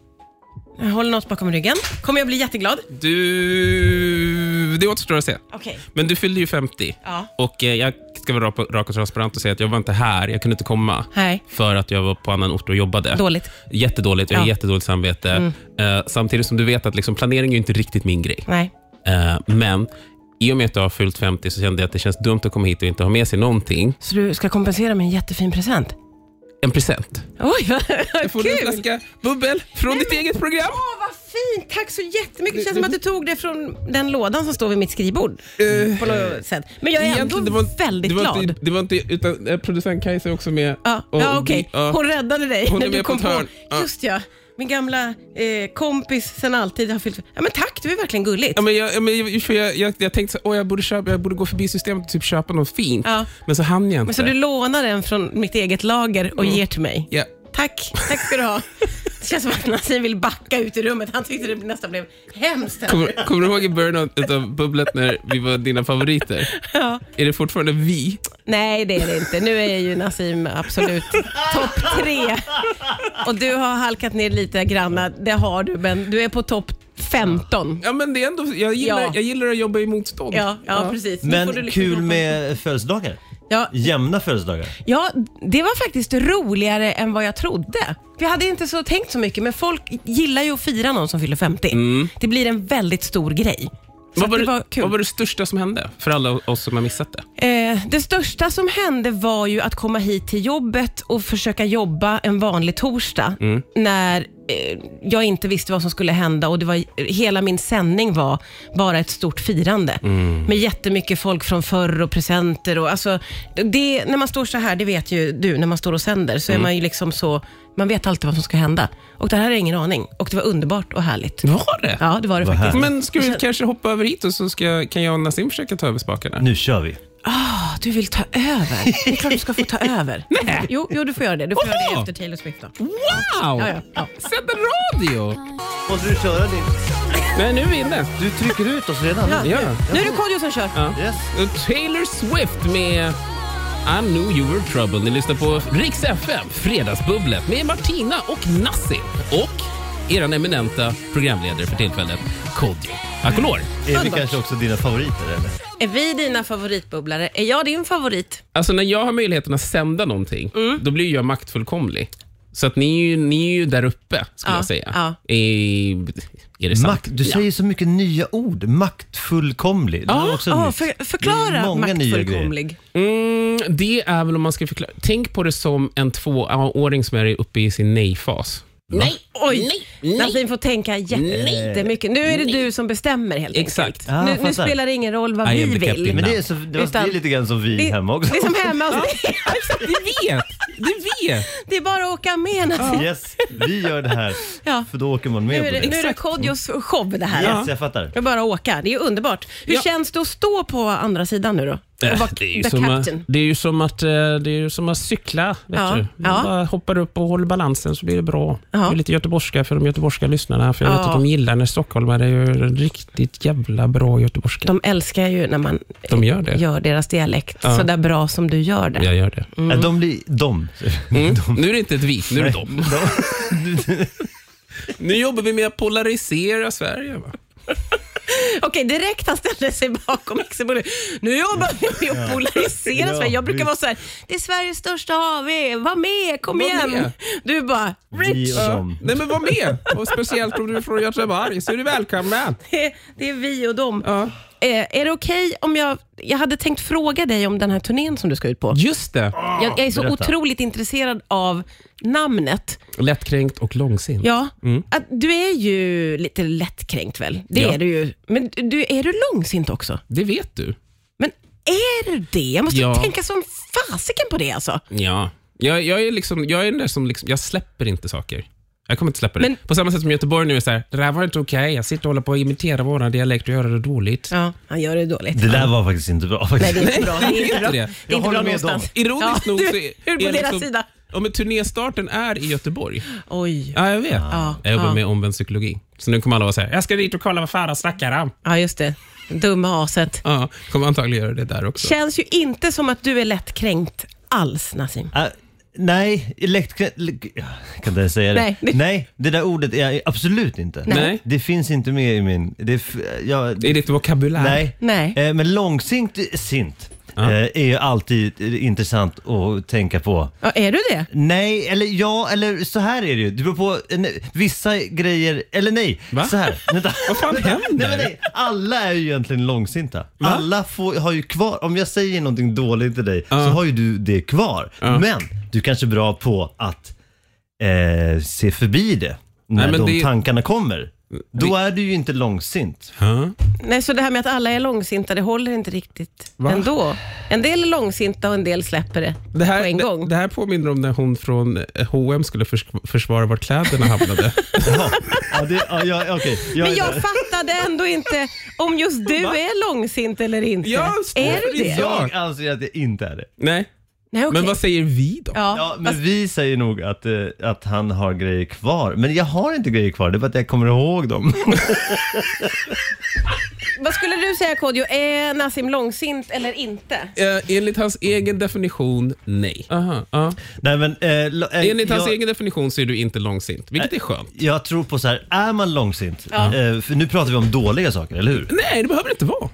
[SPEAKER 2] Jag håller något bakom ryggen. Kommer jag bli jätteglad?
[SPEAKER 3] Du... Det återstår att se.
[SPEAKER 2] Okej.
[SPEAKER 3] Men du fyllde ju 50.
[SPEAKER 2] Ja.
[SPEAKER 3] Och eh, jag ska vara rak och- rak och transparent och säga att jag var inte här, jag kunde inte komma.
[SPEAKER 2] Nej.
[SPEAKER 3] För att jag var på annan ort och jobbade.
[SPEAKER 2] Dåligt.
[SPEAKER 3] Jättedåligt, jag har
[SPEAKER 2] Ja. Mm.
[SPEAKER 3] jättedåligt samvete. Eh, samtidigt som du vet att liksom, planering är ju inte riktigt min grej.
[SPEAKER 2] Nej.
[SPEAKER 3] Eh, men i och med att jag har fyllt 50 så kände jag att det känns dumt att komma hit och inte ha med sig någonting.
[SPEAKER 2] Så du ska kompensera med en jättefin present?
[SPEAKER 3] En present.
[SPEAKER 2] Oj, vad
[SPEAKER 3] Jag får
[SPEAKER 2] kul!
[SPEAKER 3] en flaska bubbel från ditt eget program.
[SPEAKER 2] Åh, vad fint! Tack så jättemycket. Det känns som att du tog det från den lådan som står vid mitt skrivbord. på något sätt. Men jag är ändå
[SPEAKER 3] Eh, Egentligen, det var-
[SPEAKER 2] väldigt
[SPEAKER 3] det var
[SPEAKER 2] glad.
[SPEAKER 3] Inte, det var inte, utan eh, producent Kajsa är också med.
[SPEAKER 2] Ja,
[SPEAKER 3] Och
[SPEAKER 2] ja
[SPEAKER 3] vi-
[SPEAKER 2] okej.
[SPEAKER 3] ja.
[SPEAKER 2] Hon räddade dig
[SPEAKER 3] Hon är
[SPEAKER 2] när du
[SPEAKER 3] med på
[SPEAKER 2] kom
[SPEAKER 3] ett
[SPEAKER 2] på.
[SPEAKER 3] hörn. Ja.
[SPEAKER 2] Just ja. Min gamla eh, kompis sen alltid har fyllt... Ja, men tack, du är verkligen gulligt.
[SPEAKER 3] Ja, men jag, ja, men jag, för jag, jag, jag tänkte att jag, borde köpa- jag borde gå förbi systemet och typ köpa något fint,
[SPEAKER 2] Ja.
[SPEAKER 3] men så hann jag inte.
[SPEAKER 2] Men så du lånar den från mitt eget lager
[SPEAKER 3] Mm.
[SPEAKER 2] och ger till mig?
[SPEAKER 3] Ja.
[SPEAKER 2] Tack, tack ska du ha. Det känns som att Nassim vill backa ut ur rummet. Han tyckte det nästan blev hemskt. här.
[SPEAKER 3] Kommer, kommer du ihåg i början av- av bubblet när vi var dina favoriter?
[SPEAKER 2] Ja.
[SPEAKER 3] Är det fortfarande vi?
[SPEAKER 2] Nej, det är det inte. Nu är ju Nassim absolut topp tre. Och du har halkat ner lite granna, det har du, men du är på topp 15.
[SPEAKER 3] Ja, men det är ändå, jag, gillar,
[SPEAKER 2] Ja.
[SPEAKER 3] jag gillar att jobba i motstånd.
[SPEAKER 2] Ja, ja, precis. Nu får du
[SPEAKER 4] Men
[SPEAKER 2] liksom
[SPEAKER 4] kul
[SPEAKER 2] hoppa-
[SPEAKER 4] med födelsedagar.
[SPEAKER 2] Ja,
[SPEAKER 4] Jämna födelsedagar.
[SPEAKER 2] ja, det var faktiskt roligare än vad jag trodde. Jag hade inte så tänkt så mycket, men folk gillar ju att fira någon som fyller 50. Det blir en väldigt stor grej. Så
[SPEAKER 3] Vad,
[SPEAKER 2] att
[SPEAKER 3] var
[SPEAKER 2] det
[SPEAKER 3] det,
[SPEAKER 2] Mm. var kul.
[SPEAKER 3] vad var det största som hände för alla oss som har missat det?
[SPEAKER 2] Eh, det största som hände var ju att komma hit till jobbet och försöka jobba en vanlig torsdag när eh, jag inte visste vad som skulle hända och det var, hela min sändning var bara ett stort firande. Med jättemycket folk från förr och presenter. Och, alltså, det, när man står så här, det vet ju du, när man står och sänder, så är man ju liksom så, man vet alltid vad som ska hända. Och det här har jag ingen aning. Och det var underbart och härligt.
[SPEAKER 3] Var det?
[SPEAKER 2] Ja, det var det
[SPEAKER 4] Vad
[SPEAKER 2] faktiskt.
[SPEAKER 3] Men ska vi kanske hoppa över hit och så ska, kan jag och Nassim försöka ta över spakarna?
[SPEAKER 4] Nu kör vi.
[SPEAKER 2] Ah, du vill ta över? Det är klart du ska få ta
[SPEAKER 4] (laughs)
[SPEAKER 2] över.
[SPEAKER 3] Nej.
[SPEAKER 2] Jo, jo, du får göra det. Du får göra det
[SPEAKER 3] Oho.
[SPEAKER 2] efter Taylor Swift då.
[SPEAKER 3] Wow!
[SPEAKER 2] Ja, ja, ja.
[SPEAKER 3] Sända radio!
[SPEAKER 4] Måste du köra din?
[SPEAKER 3] Nej, nu är vi inne.
[SPEAKER 4] Du trycker ut oss redan.
[SPEAKER 2] Ja.
[SPEAKER 3] Ja.
[SPEAKER 2] Nu är det Kodjo som kör.
[SPEAKER 3] Ja.
[SPEAKER 4] Yes.
[SPEAKER 3] Och Taylor Swift med I knew you were trouble. Ni lyssnar på Rix FM, Fredagsbubblet med Martina och Nassim och er eminenta programledare för tillfället, Kodjo Akolor.
[SPEAKER 4] Är vi
[SPEAKER 2] Underbart.
[SPEAKER 4] kanske också dina favoriter eller?
[SPEAKER 2] Är vi dina favoritbubblare? Är jag din favorit?
[SPEAKER 3] Alltså när jag har möjligheten att sända någonting,
[SPEAKER 2] Mm.
[SPEAKER 3] då blir jag maktfullkomlig. Så att ni är ju, ni är ju där uppe, skulle
[SPEAKER 2] Ja,
[SPEAKER 3] jag säga.
[SPEAKER 2] ja.
[SPEAKER 3] I, är det sant?
[SPEAKER 4] Makt, du
[SPEAKER 3] Ja.
[SPEAKER 4] säger så mycket nya ord. Maktfullkomlig. Det var också
[SPEAKER 2] Ja,
[SPEAKER 4] nytt.
[SPEAKER 2] Ah, för,
[SPEAKER 4] Det är
[SPEAKER 2] förklara
[SPEAKER 4] många nya grejer.
[SPEAKER 2] maktfullkomlig.
[SPEAKER 3] Mm, det är väl om man ska förklara. Tänk på det som en tvååring som är uppe i sin nej-fas. Nej,
[SPEAKER 2] Oj, Nassim får tänka jättemycket. Nu är det du som bestämmer helt
[SPEAKER 3] Exakt.
[SPEAKER 4] Ah,
[SPEAKER 2] enkelt. Nu, nu
[SPEAKER 4] fattar.
[SPEAKER 2] spelar det ingen roll vad
[SPEAKER 3] I
[SPEAKER 2] vi
[SPEAKER 3] am the
[SPEAKER 2] vill.
[SPEAKER 3] captain.
[SPEAKER 4] Men det är, så, det, var, det
[SPEAKER 2] Utan-
[SPEAKER 4] är lite grann som vi
[SPEAKER 2] Det,
[SPEAKER 4] hemma också.
[SPEAKER 2] det är som hemma
[SPEAKER 4] (laughs)
[SPEAKER 2] hos dig.
[SPEAKER 3] Exakt, du vet! Du vet!
[SPEAKER 2] Det är bara att åka med Nassim.
[SPEAKER 4] (laughs) Yes, vi gör det här.
[SPEAKER 2] Ja.
[SPEAKER 4] För då åker man
[SPEAKER 2] Nu
[SPEAKER 4] med
[SPEAKER 2] är
[SPEAKER 4] på
[SPEAKER 2] det, nu
[SPEAKER 4] det.
[SPEAKER 2] är det Kodjos show det här.
[SPEAKER 4] Yes, jag fattar.
[SPEAKER 2] Det är bara att åka. Det är ju underbart. Hur
[SPEAKER 3] Ja. Äh,
[SPEAKER 2] känns det att stå på andra sidan nu då? Och vara
[SPEAKER 3] det, är ju
[SPEAKER 2] the
[SPEAKER 3] som att,
[SPEAKER 2] captain?
[SPEAKER 3] det är ju som att, eh, det är ju som att cykla. Vet
[SPEAKER 2] Ja,
[SPEAKER 3] du. Man
[SPEAKER 2] ja.
[SPEAKER 3] bara hoppar upp och håller balansen så blir det bra.
[SPEAKER 2] Ja.
[SPEAKER 3] Det är lite göteborgska för de göteborgska lyssnarna. För jag vet
[SPEAKER 2] Ja.
[SPEAKER 3] att de gillar när stockholmare gör en riktigt jävla bra göteborgska.
[SPEAKER 2] De älskar ju när man
[SPEAKER 3] De gör det.
[SPEAKER 2] gör deras dialekt
[SPEAKER 3] Ja.
[SPEAKER 2] så där bra som du gör det.
[SPEAKER 3] Jag gör det.
[SPEAKER 4] Mm. De blir
[SPEAKER 2] (laughs)
[SPEAKER 4] de.
[SPEAKER 3] Mm. (laughs) Nu är det inte ett vi, nu är det de. Nu jobbar vi med att polarisera Sverige. Va?
[SPEAKER 2] Okej, direkt han ställde sig bakom Mixerbullen. Nu jobbar vi med att polarisera
[SPEAKER 4] Ja,
[SPEAKER 2] Sverige. Jag brukar
[SPEAKER 4] visst.
[SPEAKER 2] vara så här, det är Sveriges största AV, var med, kom
[SPEAKER 3] Var
[SPEAKER 2] igen.
[SPEAKER 3] med.
[SPEAKER 2] Du bara,
[SPEAKER 4] Vi
[SPEAKER 2] Rich,
[SPEAKER 4] och de.
[SPEAKER 3] Nej men var med! Och speciellt om du är från Göteborg så är du välkommen.
[SPEAKER 2] det, det är vi och dem.
[SPEAKER 3] Ja.
[SPEAKER 2] Eh, är det okej om jag, jag hade tänkt fråga dig om den här turnén som du ska ut på.
[SPEAKER 3] Just det.
[SPEAKER 2] Jag, jag är så
[SPEAKER 4] berätta.
[SPEAKER 2] otroligt intresserad av namnet.
[SPEAKER 3] Lättkränkt och långsint.
[SPEAKER 2] Ja, att du är ju lite lättkränkt väl? Det
[SPEAKER 3] Mm. Ja.
[SPEAKER 2] är du ju. Men du, är du långsint också?
[SPEAKER 3] Det vet du.
[SPEAKER 2] Men är du det? Jag måste
[SPEAKER 3] Ja.
[SPEAKER 2] tänka som fasiken på det alltså.
[SPEAKER 3] Ja. Jag, jag är liksom, jag är den där som liksom, jag släpper inte saker. Jag kommer inte släppa det.
[SPEAKER 2] Men-
[SPEAKER 3] På samma sätt som Göteborg nu är så här, det där var inte okej, jag sitter och håller på att imitera våran dialekt och göra det dåligt.
[SPEAKER 2] Ja, han gör det dåligt.
[SPEAKER 4] Det där var faktiskt inte bra.
[SPEAKER 2] Nej,
[SPEAKER 4] Faktiskt.
[SPEAKER 2] det är
[SPEAKER 3] (laughs)
[SPEAKER 2] inte bra. Det är inte bra,
[SPEAKER 3] inte
[SPEAKER 2] det
[SPEAKER 3] det.
[SPEAKER 2] är
[SPEAKER 4] Jag
[SPEAKER 2] inte bra
[SPEAKER 4] håller med
[SPEAKER 2] någonstans.
[SPEAKER 3] Ironiskt
[SPEAKER 2] Ja,
[SPEAKER 3] nog
[SPEAKER 2] du-
[SPEAKER 3] så är,
[SPEAKER 2] (laughs) Hur på
[SPEAKER 3] är liksom-
[SPEAKER 2] deras sida?
[SPEAKER 3] Ja, men turnéstarten är i Göteborg.
[SPEAKER 2] Oj.
[SPEAKER 3] Ja, jag vet.
[SPEAKER 2] Ja,
[SPEAKER 3] Jag jobbar
[SPEAKER 2] ja.
[SPEAKER 3] med omvänd psykologi. Så nu kommer alla vara så här, jag ska dit och kolla vad Farah snackar om.
[SPEAKER 2] Ja, just det. Dumma aset.
[SPEAKER 3] Ja, kommer antagligen göra det där också.
[SPEAKER 2] Känns ju inte som att du är lättkränkt alls, Nassim.
[SPEAKER 4] Ah, nej, elekträ... Jag kan inte ens säga det.
[SPEAKER 2] Nej.
[SPEAKER 4] nej, det där ordet är jag absolut inte.
[SPEAKER 3] Nej.
[SPEAKER 4] Det finns inte med i min... Det, är f- jag,
[SPEAKER 3] I ditt vokabulär.
[SPEAKER 4] nej.
[SPEAKER 2] Nej.
[SPEAKER 4] Eh, men långsint sint
[SPEAKER 3] Ja.
[SPEAKER 4] eh, är ju alltid eh, intressant att tänka på.
[SPEAKER 2] Ja, är du det?
[SPEAKER 4] Nej, eller ja, eller så här är det ju. Det beror på eh, nej, vissa grejer, eller nej.
[SPEAKER 3] Va? (laughs)
[SPEAKER 4] Så här. Vänta.
[SPEAKER 3] Vad fan
[SPEAKER 4] Vänta.
[SPEAKER 3] händer?
[SPEAKER 4] Nej, men nej. Alla är ju egentligen långsinta. Alla får, har ju kvar, om jag säger någonting dåligt till dig så har ju du det kvar. Men du kanske är bra på att eh, se förbi det när
[SPEAKER 3] Nej, men
[SPEAKER 4] de
[SPEAKER 3] det-
[SPEAKER 4] tankarna kommer. Då är du ju
[SPEAKER 3] (laughs)
[SPEAKER 4] inte långsint.
[SPEAKER 3] Ja.
[SPEAKER 2] Nej, så det här med att alla är långsinta, det håller inte riktigt
[SPEAKER 3] Va?
[SPEAKER 2] ändå. En del är långsinta och en del släpper det,
[SPEAKER 3] Det här,
[SPEAKER 2] på en gång.
[SPEAKER 3] Det, det här påminner om när hon från eh, H&M skulle förs försvara var
[SPEAKER 2] (laughs)
[SPEAKER 3] kläderna hamnade.
[SPEAKER 4] Jaha. ja, det, ja, ja, okej. Jag
[SPEAKER 2] Men
[SPEAKER 4] är
[SPEAKER 2] jag
[SPEAKER 4] där.
[SPEAKER 2] fattade ändå inte om just du är långsint eller inte.
[SPEAKER 3] Ja,
[SPEAKER 2] är du det?
[SPEAKER 3] ja.
[SPEAKER 4] jag anser att jag inte är det.
[SPEAKER 3] Nej,
[SPEAKER 2] Nej, okej.
[SPEAKER 3] men vad säger vi då?
[SPEAKER 2] ja.
[SPEAKER 4] Ja, men vi säger nog att, eh, att han har grejer kvar. Men jag har inte grejer kvar, det är bara att jag kommer ihåg dem. (laughs)
[SPEAKER 2] Vad skulle du säga Kodjo, är Nassim långsint eller inte?
[SPEAKER 3] Eh, enligt hans egen definition, nej. Aha, ja.
[SPEAKER 4] Nej, men, eh, lo- eh,
[SPEAKER 3] Enligt hans
[SPEAKER 4] jag,
[SPEAKER 3] egen definition så är du inte långsint, vilket är skönt.
[SPEAKER 4] jag tror på så här, är man långsint, eh, för nu pratar vi om dåliga saker, eller hur?
[SPEAKER 3] Nej, det behöver det inte vara.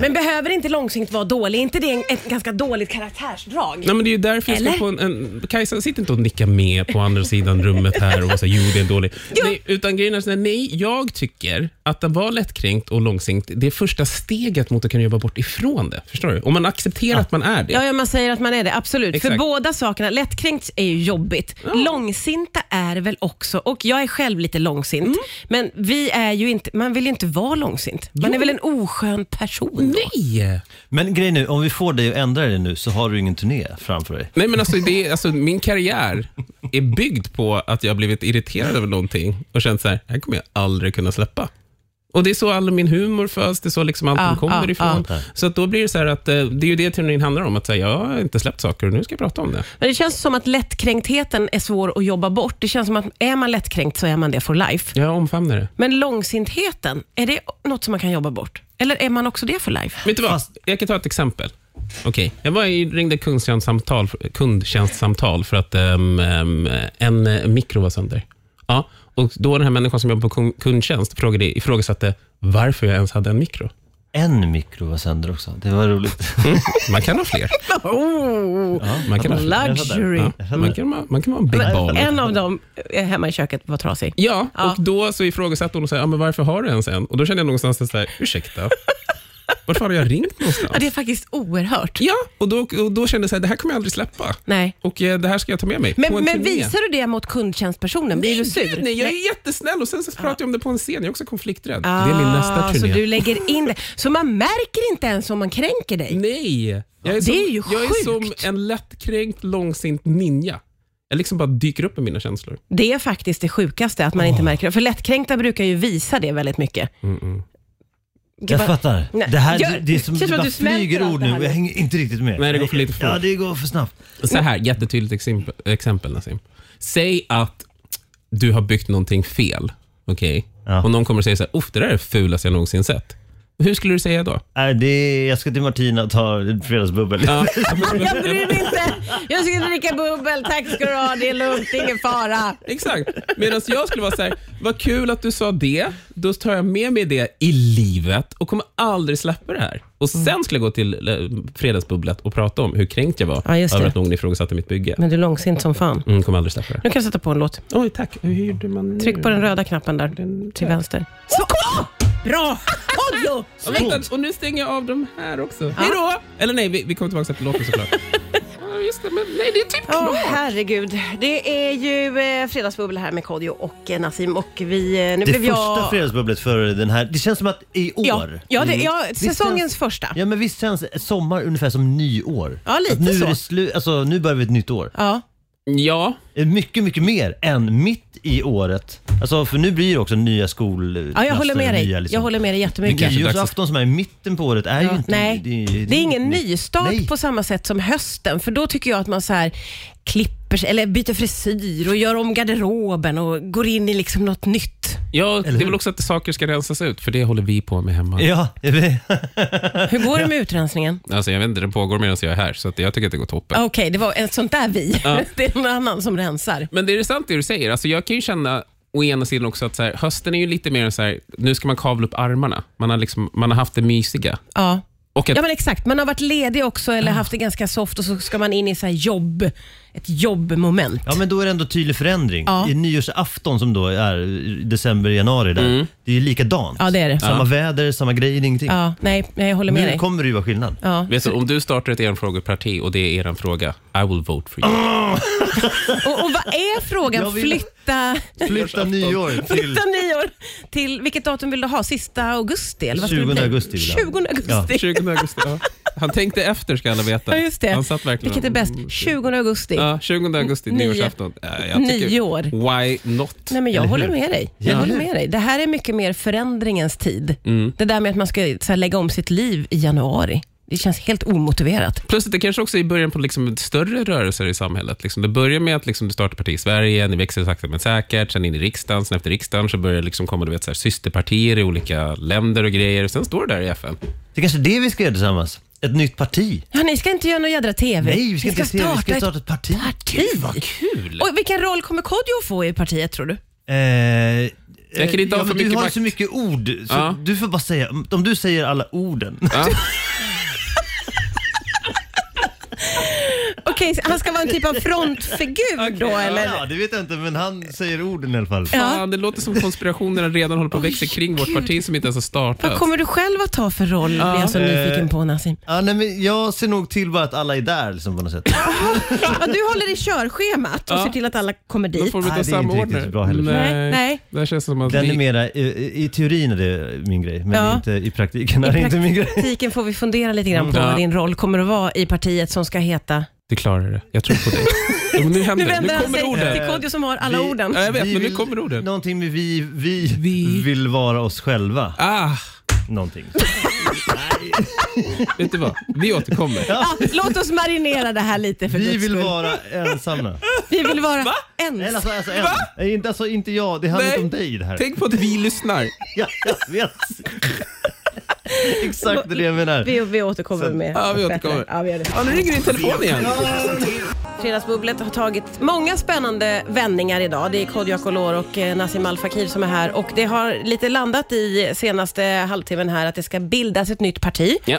[SPEAKER 2] Men behöver inte långsint vara dålig? Är inte det en, ett ganska dåligt karaktärsdrag?
[SPEAKER 3] Nej, men det är ju därför jag
[SPEAKER 2] Eller?
[SPEAKER 3] ska få en, en... Kajsa, sitt inte och nicka med på andra sidan rummet här och vara så här, jo det är dålig. Nej, utan grejen är så här, nej, jag tycker att den var lättkränkt och långsinkt. Det är första steget mot att kunna jobba bort ifrån det. Förstår du? Om man accepterar att man är det.
[SPEAKER 2] Ja, ja, man säger att man är det. Absolut.
[SPEAKER 3] Exakt.
[SPEAKER 2] För båda sakerna. Lättkränkt är ju jobbigt. Långsinta är väl också, och jag är själv lite långsint,
[SPEAKER 3] Mm.
[SPEAKER 2] men vi är ju inte, man vill ju inte vara långsint. Man är väl en oskön person då?
[SPEAKER 3] Nej!
[SPEAKER 4] Men grejen nu, om vi får dig att ändra dig nu så har du ingen turné framför dig.
[SPEAKER 3] Nej, men alltså, det, är- alltså, min karriär är byggd på att jag har blivit irriterad över någonting och känt så här, här kommer jag aldrig kunna släppa. Och Det är så all min humor föds, det är så liksom allt
[SPEAKER 2] Ja,
[SPEAKER 3] kommer
[SPEAKER 2] ja,
[SPEAKER 3] ifrån. Så att då blir det så här att eh, det är ju det turnén handlar om, att säga, jag har inte släppt saker och nu ska jag prata om det.
[SPEAKER 2] Men det känns som att lättkränktheten är svår att jobba bort. Det känns som att är man lättkränkt så är man det for life.
[SPEAKER 3] Jag omfamnar det.
[SPEAKER 2] Men långsintheten, är det något som man kan jobba bort? Eller är man också det for
[SPEAKER 3] (laughs)
[SPEAKER 2] life?
[SPEAKER 3] Vet du vad?
[SPEAKER 4] Fast-
[SPEAKER 3] Jag kan ta ett exempel. Okej, Jag var i, ringde kundtjänstsamtal, kundtjänstsamtal för att ehm, ehm, en eh, mikro var sönder. Ja, och då den här människan som jobbar på kun- kundtjänst frågade, ifrågasatte varför jag ens hade en mikro.
[SPEAKER 4] En mikro var sönder också. Det
[SPEAKER 3] (laughs)
[SPEAKER 4] var roligt.
[SPEAKER 3] Man kan ha fler.
[SPEAKER 2] Oh,
[SPEAKER 4] Ja,
[SPEAKER 3] Man kan ha fler.
[SPEAKER 2] luxury.
[SPEAKER 3] Ja, man, kan, ha- man kan vara en big baller.
[SPEAKER 2] En av dem eh, hemma i köket var trasig.
[SPEAKER 3] Ja,
[SPEAKER 2] Ja.
[SPEAKER 3] och då så ifrågasatte hon och sa, ja, men varför har du ens en? Och då kände jag någonstans så här, ursäkta, varför har jag ringt någonstans?
[SPEAKER 2] Ja, det är faktiskt oerhört.
[SPEAKER 3] Ja, och då, och då kände jag så här, det här kommer jag aldrig släppa.
[SPEAKER 2] Nej.
[SPEAKER 3] Och eh, det här ska jag ta med mig. på
[SPEAKER 2] Men,
[SPEAKER 3] en
[SPEAKER 2] men
[SPEAKER 3] turné.
[SPEAKER 2] visar du det mot kundtjänstpersonen? Blir du sur?
[SPEAKER 3] Nej, nej, jag är jättesnäll och sen så pratar jag om det på en scen. Jag är också konflikträdd.
[SPEAKER 2] Ah,
[SPEAKER 3] det är min nästa turné.
[SPEAKER 2] Så du lägger in det. Så man märker inte ens om man kränker dig?
[SPEAKER 3] Nej! Jag är, som,
[SPEAKER 2] Det är ju
[SPEAKER 3] jag är som
[SPEAKER 2] sjukt.
[SPEAKER 3] en lättkränkt, långsint ninja. Jag liksom bara dyker upp med mina känslor.
[SPEAKER 2] Det är faktiskt det sjukaste, att man inte märker det. För lättkränkta brukar ju visa det väldigt mycket.
[SPEAKER 3] Mm,
[SPEAKER 2] Gud,
[SPEAKER 4] Jag
[SPEAKER 2] vad-
[SPEAKER 4] fattar.
[SPEAKER 2] Nej,
[SPEAKER 4] Det här,
[SPEAKER 2] gör-
[SPEAKER 4] det, det är
[SPEAKER 2] känns
[SPEAKER 4] som
[SPEAKER 2] som
[SPEAKER 4] det
[SPEAKER 2] att
[SPEAKER 4] bara
[SPEAKER 2] du smälter
[SPEAKER 4] flyger
[SPEAKER 2] allt
[SPEAKER 4] ord
[SPEAKER 2] det
[SPEAKER 4] nu
[SPEAKER 2] här
[SPEAKER 4] och
[SPEAKER 2] nu.
[SPEAKER 4] jag hänger inte riktigt med.
[SPEAKER 3] Nej, det går för lite fort.
[SPEAKER 4] Ja, det går för snabbt.
[SPEAKER 3] Så här, jättetydligt exempel, exempel Nassim. Säg att du har byggt någonting fel. Okej?
[SPEAKER 4] Ja.
[SPEAKER 3] Och någon kommer och säger så här, Uff, det där är det fulaste jag någonsin sett. Hur skulle du
[SPEAKER 2] (laughs)
[SPEAKER 3] säga då?
[SPEAKER 4] Nej, det är, jag ska till Martina och ta en fredagsbubbel.
[SPEAKER 3] Ja,
[SPEAKER 2] Jag bryr mig inte. Jag ska dricka bubbel. Tack ska du ha. Det är lugnt. Det är ingen fara.
[SPEAKER 3] Exakt. Medan jag skulle vara så här, vad kul att du sa det. Då tar jag med mig det i livet och kommer aldrig släppa det här. Och sen skulle jag gå till eh, Fredagsbubblet och prata om hur kränkt jag var
[SPEAKER 2] Ja, just det.
[SPEAKER 3] över att någon ifrågasatte mitt bygge.
[SPEAKER 2] Men du är långsint som fan.
[SPEAKER 3] Mm, kommer aldrig släppa det.
[SPEAKER 2] Nu kan jag sätta på en låt.
[SPEAKER 3] Oj, tack. Hur hyrde man nu?
[SPEAKER 2] Tryck på den röda knappen där, till vänster. Så! Åh! Bra! Kodjo!
[SPEAKER 3] Ja, vänta, och nu stänger jag av de här också. Hej då! Eller nej, vi, vi kommer tillbaka till låten såklart. ja, just det, men nej, det är typ
[SPEAKER 2] Åh,
[SPEAKER 3] klart.
[SPEAKER 2] herregud. Det är ju eh, Fredagsbubbel här med Kodjo och eh, Nassim och vi... eh, Nu
[SPEAKER 4] Det
[SPEAKER 2] blev jag...
[SPEAKER 4] första fredagsbubblet för den här. Det känns som att i år. Mm.
[SPEAKER 2] Ja, ja, det, ja
[SPEAKER 4] känns-
[SPEAKER 2] säsongens första.
[SPEAKER 4] Ja men visst känns sommar ungefär som nyår?
[SPEAKER 2] Ja, lite
[SPEAKER 4] att nu
[SPEAKER 2] så.
[SPEAKER 4] Är det slu- alltså, nu börjar vi ett nytt år. Eh,
[SPEAKER 2] Ja.
[SPEAKER 3] Ja,
[SPEAKER 4] Mycket, mycket mer än mitt i året. Alltså, för nu blir det också nya skol...
[SPEAKER 2] ja, jag håller med dig.
[SPEAKER 4] Nya, liksom.
[SPEAKER 2] Jag håller med dig
[SPEAKER 4] Men
[SPEAKER 2] jättemycket.
[SPEAKER 4] nyårsafton som är i mitten på året är ju
[SPEAKER 2] Ja,
[SPEAKER 4] inte...
[SPEAKER 2] nej,
[SPEAKER 4] det är ju-
[SPEAKER 2] det är ingen
[SPEAKER 4] nytt.
[SPEAKER 2] nystart
[SPEAKER 4] Nej.
[SPEAKER 2] på samma sätt som hösten, för då tycker jag att man så här klipper sig, eller byter frisyr och gör om garderoben och går in i liksom något nytt.
[SPEAKER 3] ja det är
[SPEAKER 4] hur?
[SPEAKER 3] väl också att saker ska rensas ut, för det håller vi på med hemma.
[SPEAKER 4] Ja,
[SPEAKER 2] Hur går det med utrensningen? Ah,
[SPEAKER 3] Alltså, jag vet inte, den pågår medan jag är här, så att jag tycker att det går toppen.
[SPEAKER 2] Okej, det var ett sånt där vi.
[SPEAKER 3] Ja.
[SPEAKER 2] (laughs) Det är någon annan som rensar.
[SPEAKER 3] Men det är sant det du säger. Alltså jag kan ju känna å ena sidan också att så här, hösten är ju lite mer så här, nu ska man kavla upp armarna. Man har, liksom, man har haft det mysiga.
[SPEAKER 2] Ja.
[SPEAKER 3] Och att,
[SPEAKER 2] ja, men exakt. Man har varit ledig också eller haft det ganska soft och så ska man in i så här jobb, ett jobbmoment.
[SPEAKER 4] (laughs) ja, men då är det ändå tydlig förändring.
[SPEAKER 2] Ja.
[SPEAKER 4] I nyårsafton som då är i december, januari där. Det är ju likadant.
[SPEAKER 2] Ja, det är det.
[SPEAKER 4] Samma
[SPEAKER 3] Ja.
[SPEAKER 4] väder, samma grejer, ingenting.
[SPEAKER 2] Ja, nej, nej, jag håller med
[SPEAKER 4] Nu
[SPEAKER 2] dig.
[SPEAKER 4] kommer det ju vara skillnad.
[SPEAKER 2] Ja.
[SPEAKER 3] vet du, om du startar ett enfrågeparti och det är er fråga, I will vote for you.
[SPEAKER 2] Och, och vad är frågan?
[SPEAKER 4] (laughs) Jag vill-
[SPEAKER 2] Flytta,
[SPEAKER 4] (laughs) Flytta nyår till...
[SPEAKER 2] flytta nyår till vilket datum vill du ha? Sista augusti? Eller vad skulle det
[SPEAKER 4] 20
[SPEAKER 2] bli?
[SPEAKER 4] augusti vill jag ha.
[SPEAKER 2] 20 augusti.
[SPEAKER 3] 20 augusti. Ja. Han tänkte efter ska alla veta.
[SPEAKER 2] Ja, just det.
[SPEAKER 3] Han satt verkligen Mm.
[SPEAKER 2] Vilket är bäst? 20 augusti.
[SPEAKER 3] Ja, 20 augusti,
[SPEAKER 2] Nio.
[SPEAKER 3] nyårsafton. Äh, jag tycker-
[SPEAKER 2] Nio år.
[SPEAKER 3] Why not?
[SPEAKER 2] Nej, men jag
[SPEAKER 4] Eller
[SPEAKER 2] håller
[SPEAKER 4] hur?
[SPEAKER 2] med dig. Jag
[SPEAKER 4] Ja.
[SPEAKER 2] håller med dig. Det här är mycket mer förändringens tid.
[SPEAKER 3] Mm.
[SPEAKER 2] Det där med att man ska så här, lägga om sitt liv i januari. Det känns helt omotiverat.
[SPEAKER 3] Plus att det kanske också är början på liksom större rörelser i samhället. Liksom det börjar med att liksom du startar parti i Sverige, ni växer sakta men säkert, sen in i riksdagen, sen efter riksdagen så börjar det liksom komma du vet, så här, systerpartier i olika länder och grejer. Och sen står det där i FN.
[SPEAKER 4] Det är kanske är det vi ska göra tillsammans. Ett nytt parti.
[SPEAKER 2] Ja, ni ska inte göra någon jädra TV.
[SPEAKER 4] Nej, vi ska inte se, vi ska
[SPEAKER 2] ett
[SPEAKER 4] starta ett parti.
[SPEAKER 2] parti.
[SPEAKER 3] kul!
[SPEAKER 2] Och vilken roll kommer Kodjo få i partiet tror du?
[SPEAKER 4] Eh, eh,
[SPEAKER 3] Jag kan inte ha för
[SPEAKER 4] ja, men du
[SPEAKER 3] mycket
[SPEAKER 4] har ju
[SPEAKER 3] makt.
[SPEAKER 4] så mycket ord, så
[SPEAKER 3] Ja.
[SPEAKER 4] du får bara säga, om du säger alla orden.
[SPEAKER 3] Ja.
[SPEAKER 2] Okej, Okej, han ska vara en typ av frontfigur då eller?
[SPEAKER 4] Ja, det vet jag inte, men han säger orden i alla fall.
[SPEAKER 2] Ja.
[SPEAKER 3] Fan, det låter som konspirationerna redan håller på att växa kring vårt parti som inte ens har startat.
[SPEAKER 2] Vad kommer du själv att ta för roll? blir jag så
[SPEAKER 4] Eh.
[SPEAKER 2] nyfiken på Nassim.
[SPEAKER 4] Ja, nej, men jag ser nog till bara att alla är där liksom, på något sätt.
[SPEAKER 2] Ja, du håller i körschemat och ser till att alla kommer
[SPEAKER 3] Då
[SPEAKER 2] dit.
[SPEAKER 3] får vi
[SPEAKER 4] Nej,
[SPEAKER 3] ta
[SPEAKER 4] det är inte
[SPEAKER 3] samordna
[SPEAKER 4] riktigt
[SPEAKER 3] det.
[SPEAKER 4] bra heller.
[SPEAKER 2] Nej, nej.
[SPEAKER 3] Det här känns som att
[SPEAKER 4] Den är
[SPEAKER 3] vi...
[SPEAKER 4] mera, i, i teorin är det min grej, men
[SPEAKER 2] Ja.
[SPEAKER 4] inte i praktiken är det inte min
[SPEAKER 2] I
[SPEAKER 4] grej.
[SPEAKER 2] praktiken får vi fundera lite grann på
[SPEAKER 3] Ja.
[SPEAKER 2] vad din roll kommer att vara i partiet som ska heta...
[SPEAKER 3] Du klarar det. Jag tror på
[SPEAKER 4] (laughs)
[SPEAKER 3] dig. jo, men nu
[SPEAKER 2] Nu
[SPEAKER 3] händer det.
[SPEAKER 2] vänder
[SPEAKER 3] Nu
[SPEAKER 2] han
[SPEAKER 3] kommer
[SPEAKER 2] sig till
[SPEAKER 3] orden.
[SPEAKER 2] Kodjo som har alla
[SPEAKER 4] Vi-
[SPEAKER 2] orden.
[SPEAKER 3] Ja, jag vet,
[SPEAKER 4] Vi
[SPEAKER 3] men nu
[SPEAKER 4] vill-
[SPEAKER 3] kommer orden.
[SPEAKER 4] Någonting med vi, vi,
[SPEAKER 3] Vi.
[SPEAKER 4] vill vara oss själva.
[SPEAKER 3] Ah,
[SPEAKER 4] Någonting.
[SPEAKER 3] vet du vad? Vi återkommer.
[SPEAKER 2] Ja, låt oss marinera det här lite för
[SPEAKER 4] Vi
[SPEAKER 2] Guds
[SPEAKER 4] vill
[SPEAKER 2] skull.
[SPEAKER 4] vara
[SPEAKER 2] (laughs)
[SPEAKER 4] ensamma.
[SPEAKER 2] Vi vill vara ens.
[SPEAKER 4] Eller alltså, alltså, en. Nej, inte, alltså inte jag, det handlar
[SPEAKER 3] Nej.
[SPEAKER 4] inte om dig det här.
[SPEAKER 3] Tänk på att vi lyssnar.
[SPEAKER 4] Ja, jag vet. (laughs) Exakt det är det jag menar.
[SPEAKER 2] Vi, vi återkommer med
[SPEAKER 3] Ja, vi återkommer.
[SPEAKER 2] Ja, vi gör det.
[SPEAKER 3] Ja, nu ringer din telefon igen.
[SPEAKER 2] Fredagsbubblet har tagit många spännande vändningar idag. Det är Kodjo Akolor och eh, Nassim Al Fakir som är här och det har lite landat i senaste halvtimmen här att det ska bildas ett nytt parti.
[SPEAKER 3] Ja.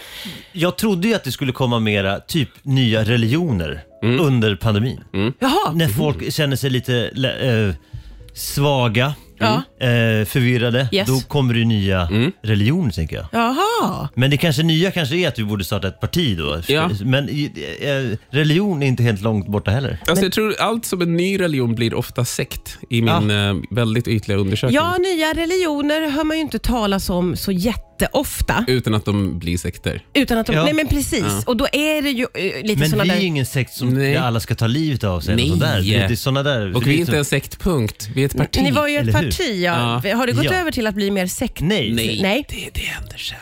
[SPEAKER 4] Jag trodde ju att det skulle komma mera typ nya religioner under pandemin.
[SPEAKER 2] Mm. Jaha, Mm.
[SPEAKER 4] När folk känner sig lite lä- eh, svaga,
[SPEAKER 2] Ja.
[SPEAKER 4] eh, förvirrade,
[SPEAKER 2] Yes. Mm.
[SPEAKER 4] då kommer det ju nya religioner tänker jag.
[SPEAKER 2] jaha.
[SPEAKER 4] Men det kanske nya kanske är att vi borde starta ett parti då.
[SPEAKER 3] Ja.
[SPEAKER 4] Men i- eh, religion är inte helt långt borta heller.
[SPEAKER 3] Alltså, jag tror allt som en ny religion blir ofta sekt i min eh, väldigt ytliga undersökning.
[SPEAKER 2] Ja, nya religioner hör man ju inte talas om så jätteofta.
[SPEAKER 3] Utan att de blir sekter.
[SPEAKER 2] Utan att de,
[SPEAKER 4] Ja.
[SPEAKER 2] Nej men precis, och då är det ju eh, lite
[SPEAKER 4] Men
[SPEAKER 2] sådana
[SPEAKER 4] vi är
[SPEAKER 2] där...
[SPEAKER 4] ju ingen sekt som
[SPEAKER 3] Nej.
[SPEAKER 4] där alla ska ta livet av sig.
[SPEAKER 3] Nej.
[SPEAKER 4] Eller sånt där. Det, det är liksom såna där.
[SPEAKER 3] Och vi är inte
[SPEAKER 4] som-
[SPEAKER 3] en sektpunkt, vi är ett parti.
[SPEAKER 2] Ni var ju ett
[SPEAKER 4] eller hur?
[SPEAKER 2] parti, ja. Har det gått
[SPEAKER 4] Ja.
[SPEAKER 2] över till att bli mer sekt?
[SPEAKER 4] Nej.
[SPEAKER 3] Nej,
[SPEAKER 2] Nej.
[SPEAKER 3] Det, det händer sen.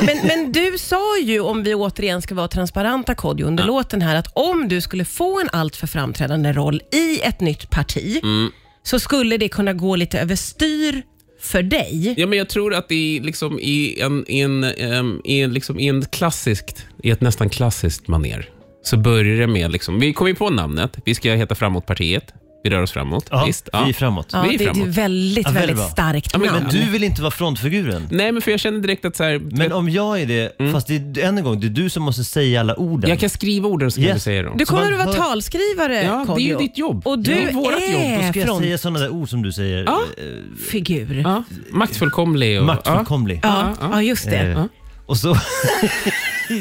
[SPEAKER 2] Men, men du sa ju, om vi återigen ska vara transparenta Kodjo, under låten här, att om du skulle få en alltför framträdande roll i ett nytt parti,
[SPEAKER 3] Mm.
[SPEAKER 2] så skulle det kunna gå lite överstyr för dig.
[SPEAKER 3] Ja, men jag tror att i, liksom, i, en, i, en, ehm, i, en, liksom, i, en klassiskt, i ett nästan klassiskt maner så börjar det med, liksom, vi kom ju på namnet, vi ska heta Framåtpartiet, vi rör oss framåt.
[SPEAKER 4] Ja,
[SPEAKER 3] Visst?
[SPEAKER 4] vi är framåt.
[SPEAKER 2] Ja,
[SPEAKER 3] Vi
[SPEAKER 2] det,
[SPEAKER 3] är
[SPEAKER 2] det är
[SPEAKER 3] framåt.
[SPEAKER 2] ju väldigt,
[SPEAKER 4] Ja, väldigt
[SPEAKER 2] väldigt
[SPEAKER 4] bra.
[SPEAKER 2] starkt
[SPEAKER 3] Ja, men-
[SPEAKER 2] namn.
[SPEAKER 4] Men du vill inte vara frontfiguren.
[SPEAKER 3] Nej, men för jag känner direkt att så här,
[SPEAKER 4] Men om jag är det, fast det är, än en gång, det är du som måste säga alla orden.
[SPEAKER 3] Mm. jag kan skriva orden så kan
[SPEAKER 4] Yes.
[SPEAKER 3] du säga dem.
[SPEAKER 2] Du kommer
[SPEAKER 4] man
[SPEAKER 2] att vara
[SPEAKER 4] hör-
[SPEAKER 2] talskrivare
[SPEAKER 3] Ja, det är ju
[SPEAKER 2] Kodjo.
[SPEAKER 3] ditt jobb.
[SPEAKER 2] Och du
[SPEAKER 3] Det är vårat jobb.
[SPEAKER 4] Då
[SPEAKER 2] är
[SPEAKER 4] ska jag
[SPEAKER 2] från
[SPEAKER 4] säga sådana där ord som du säger.
[SPEAKER 3] Ja.
[SPEAKER 4] Eh,
[SPEAKER 2] figur. Ja.
[SPEAKER 4] (laughs)
[SPEAKER 3] Ja, maktfullkomlig. Och,
[SPEAKER 4] maktfullkomlig.
[SPEAKER 2] Ja,
[SPEAKER 3] ja.
[SPEAKER 2] just det.
[SPEAKER 4] Eh, Och så... (laughs)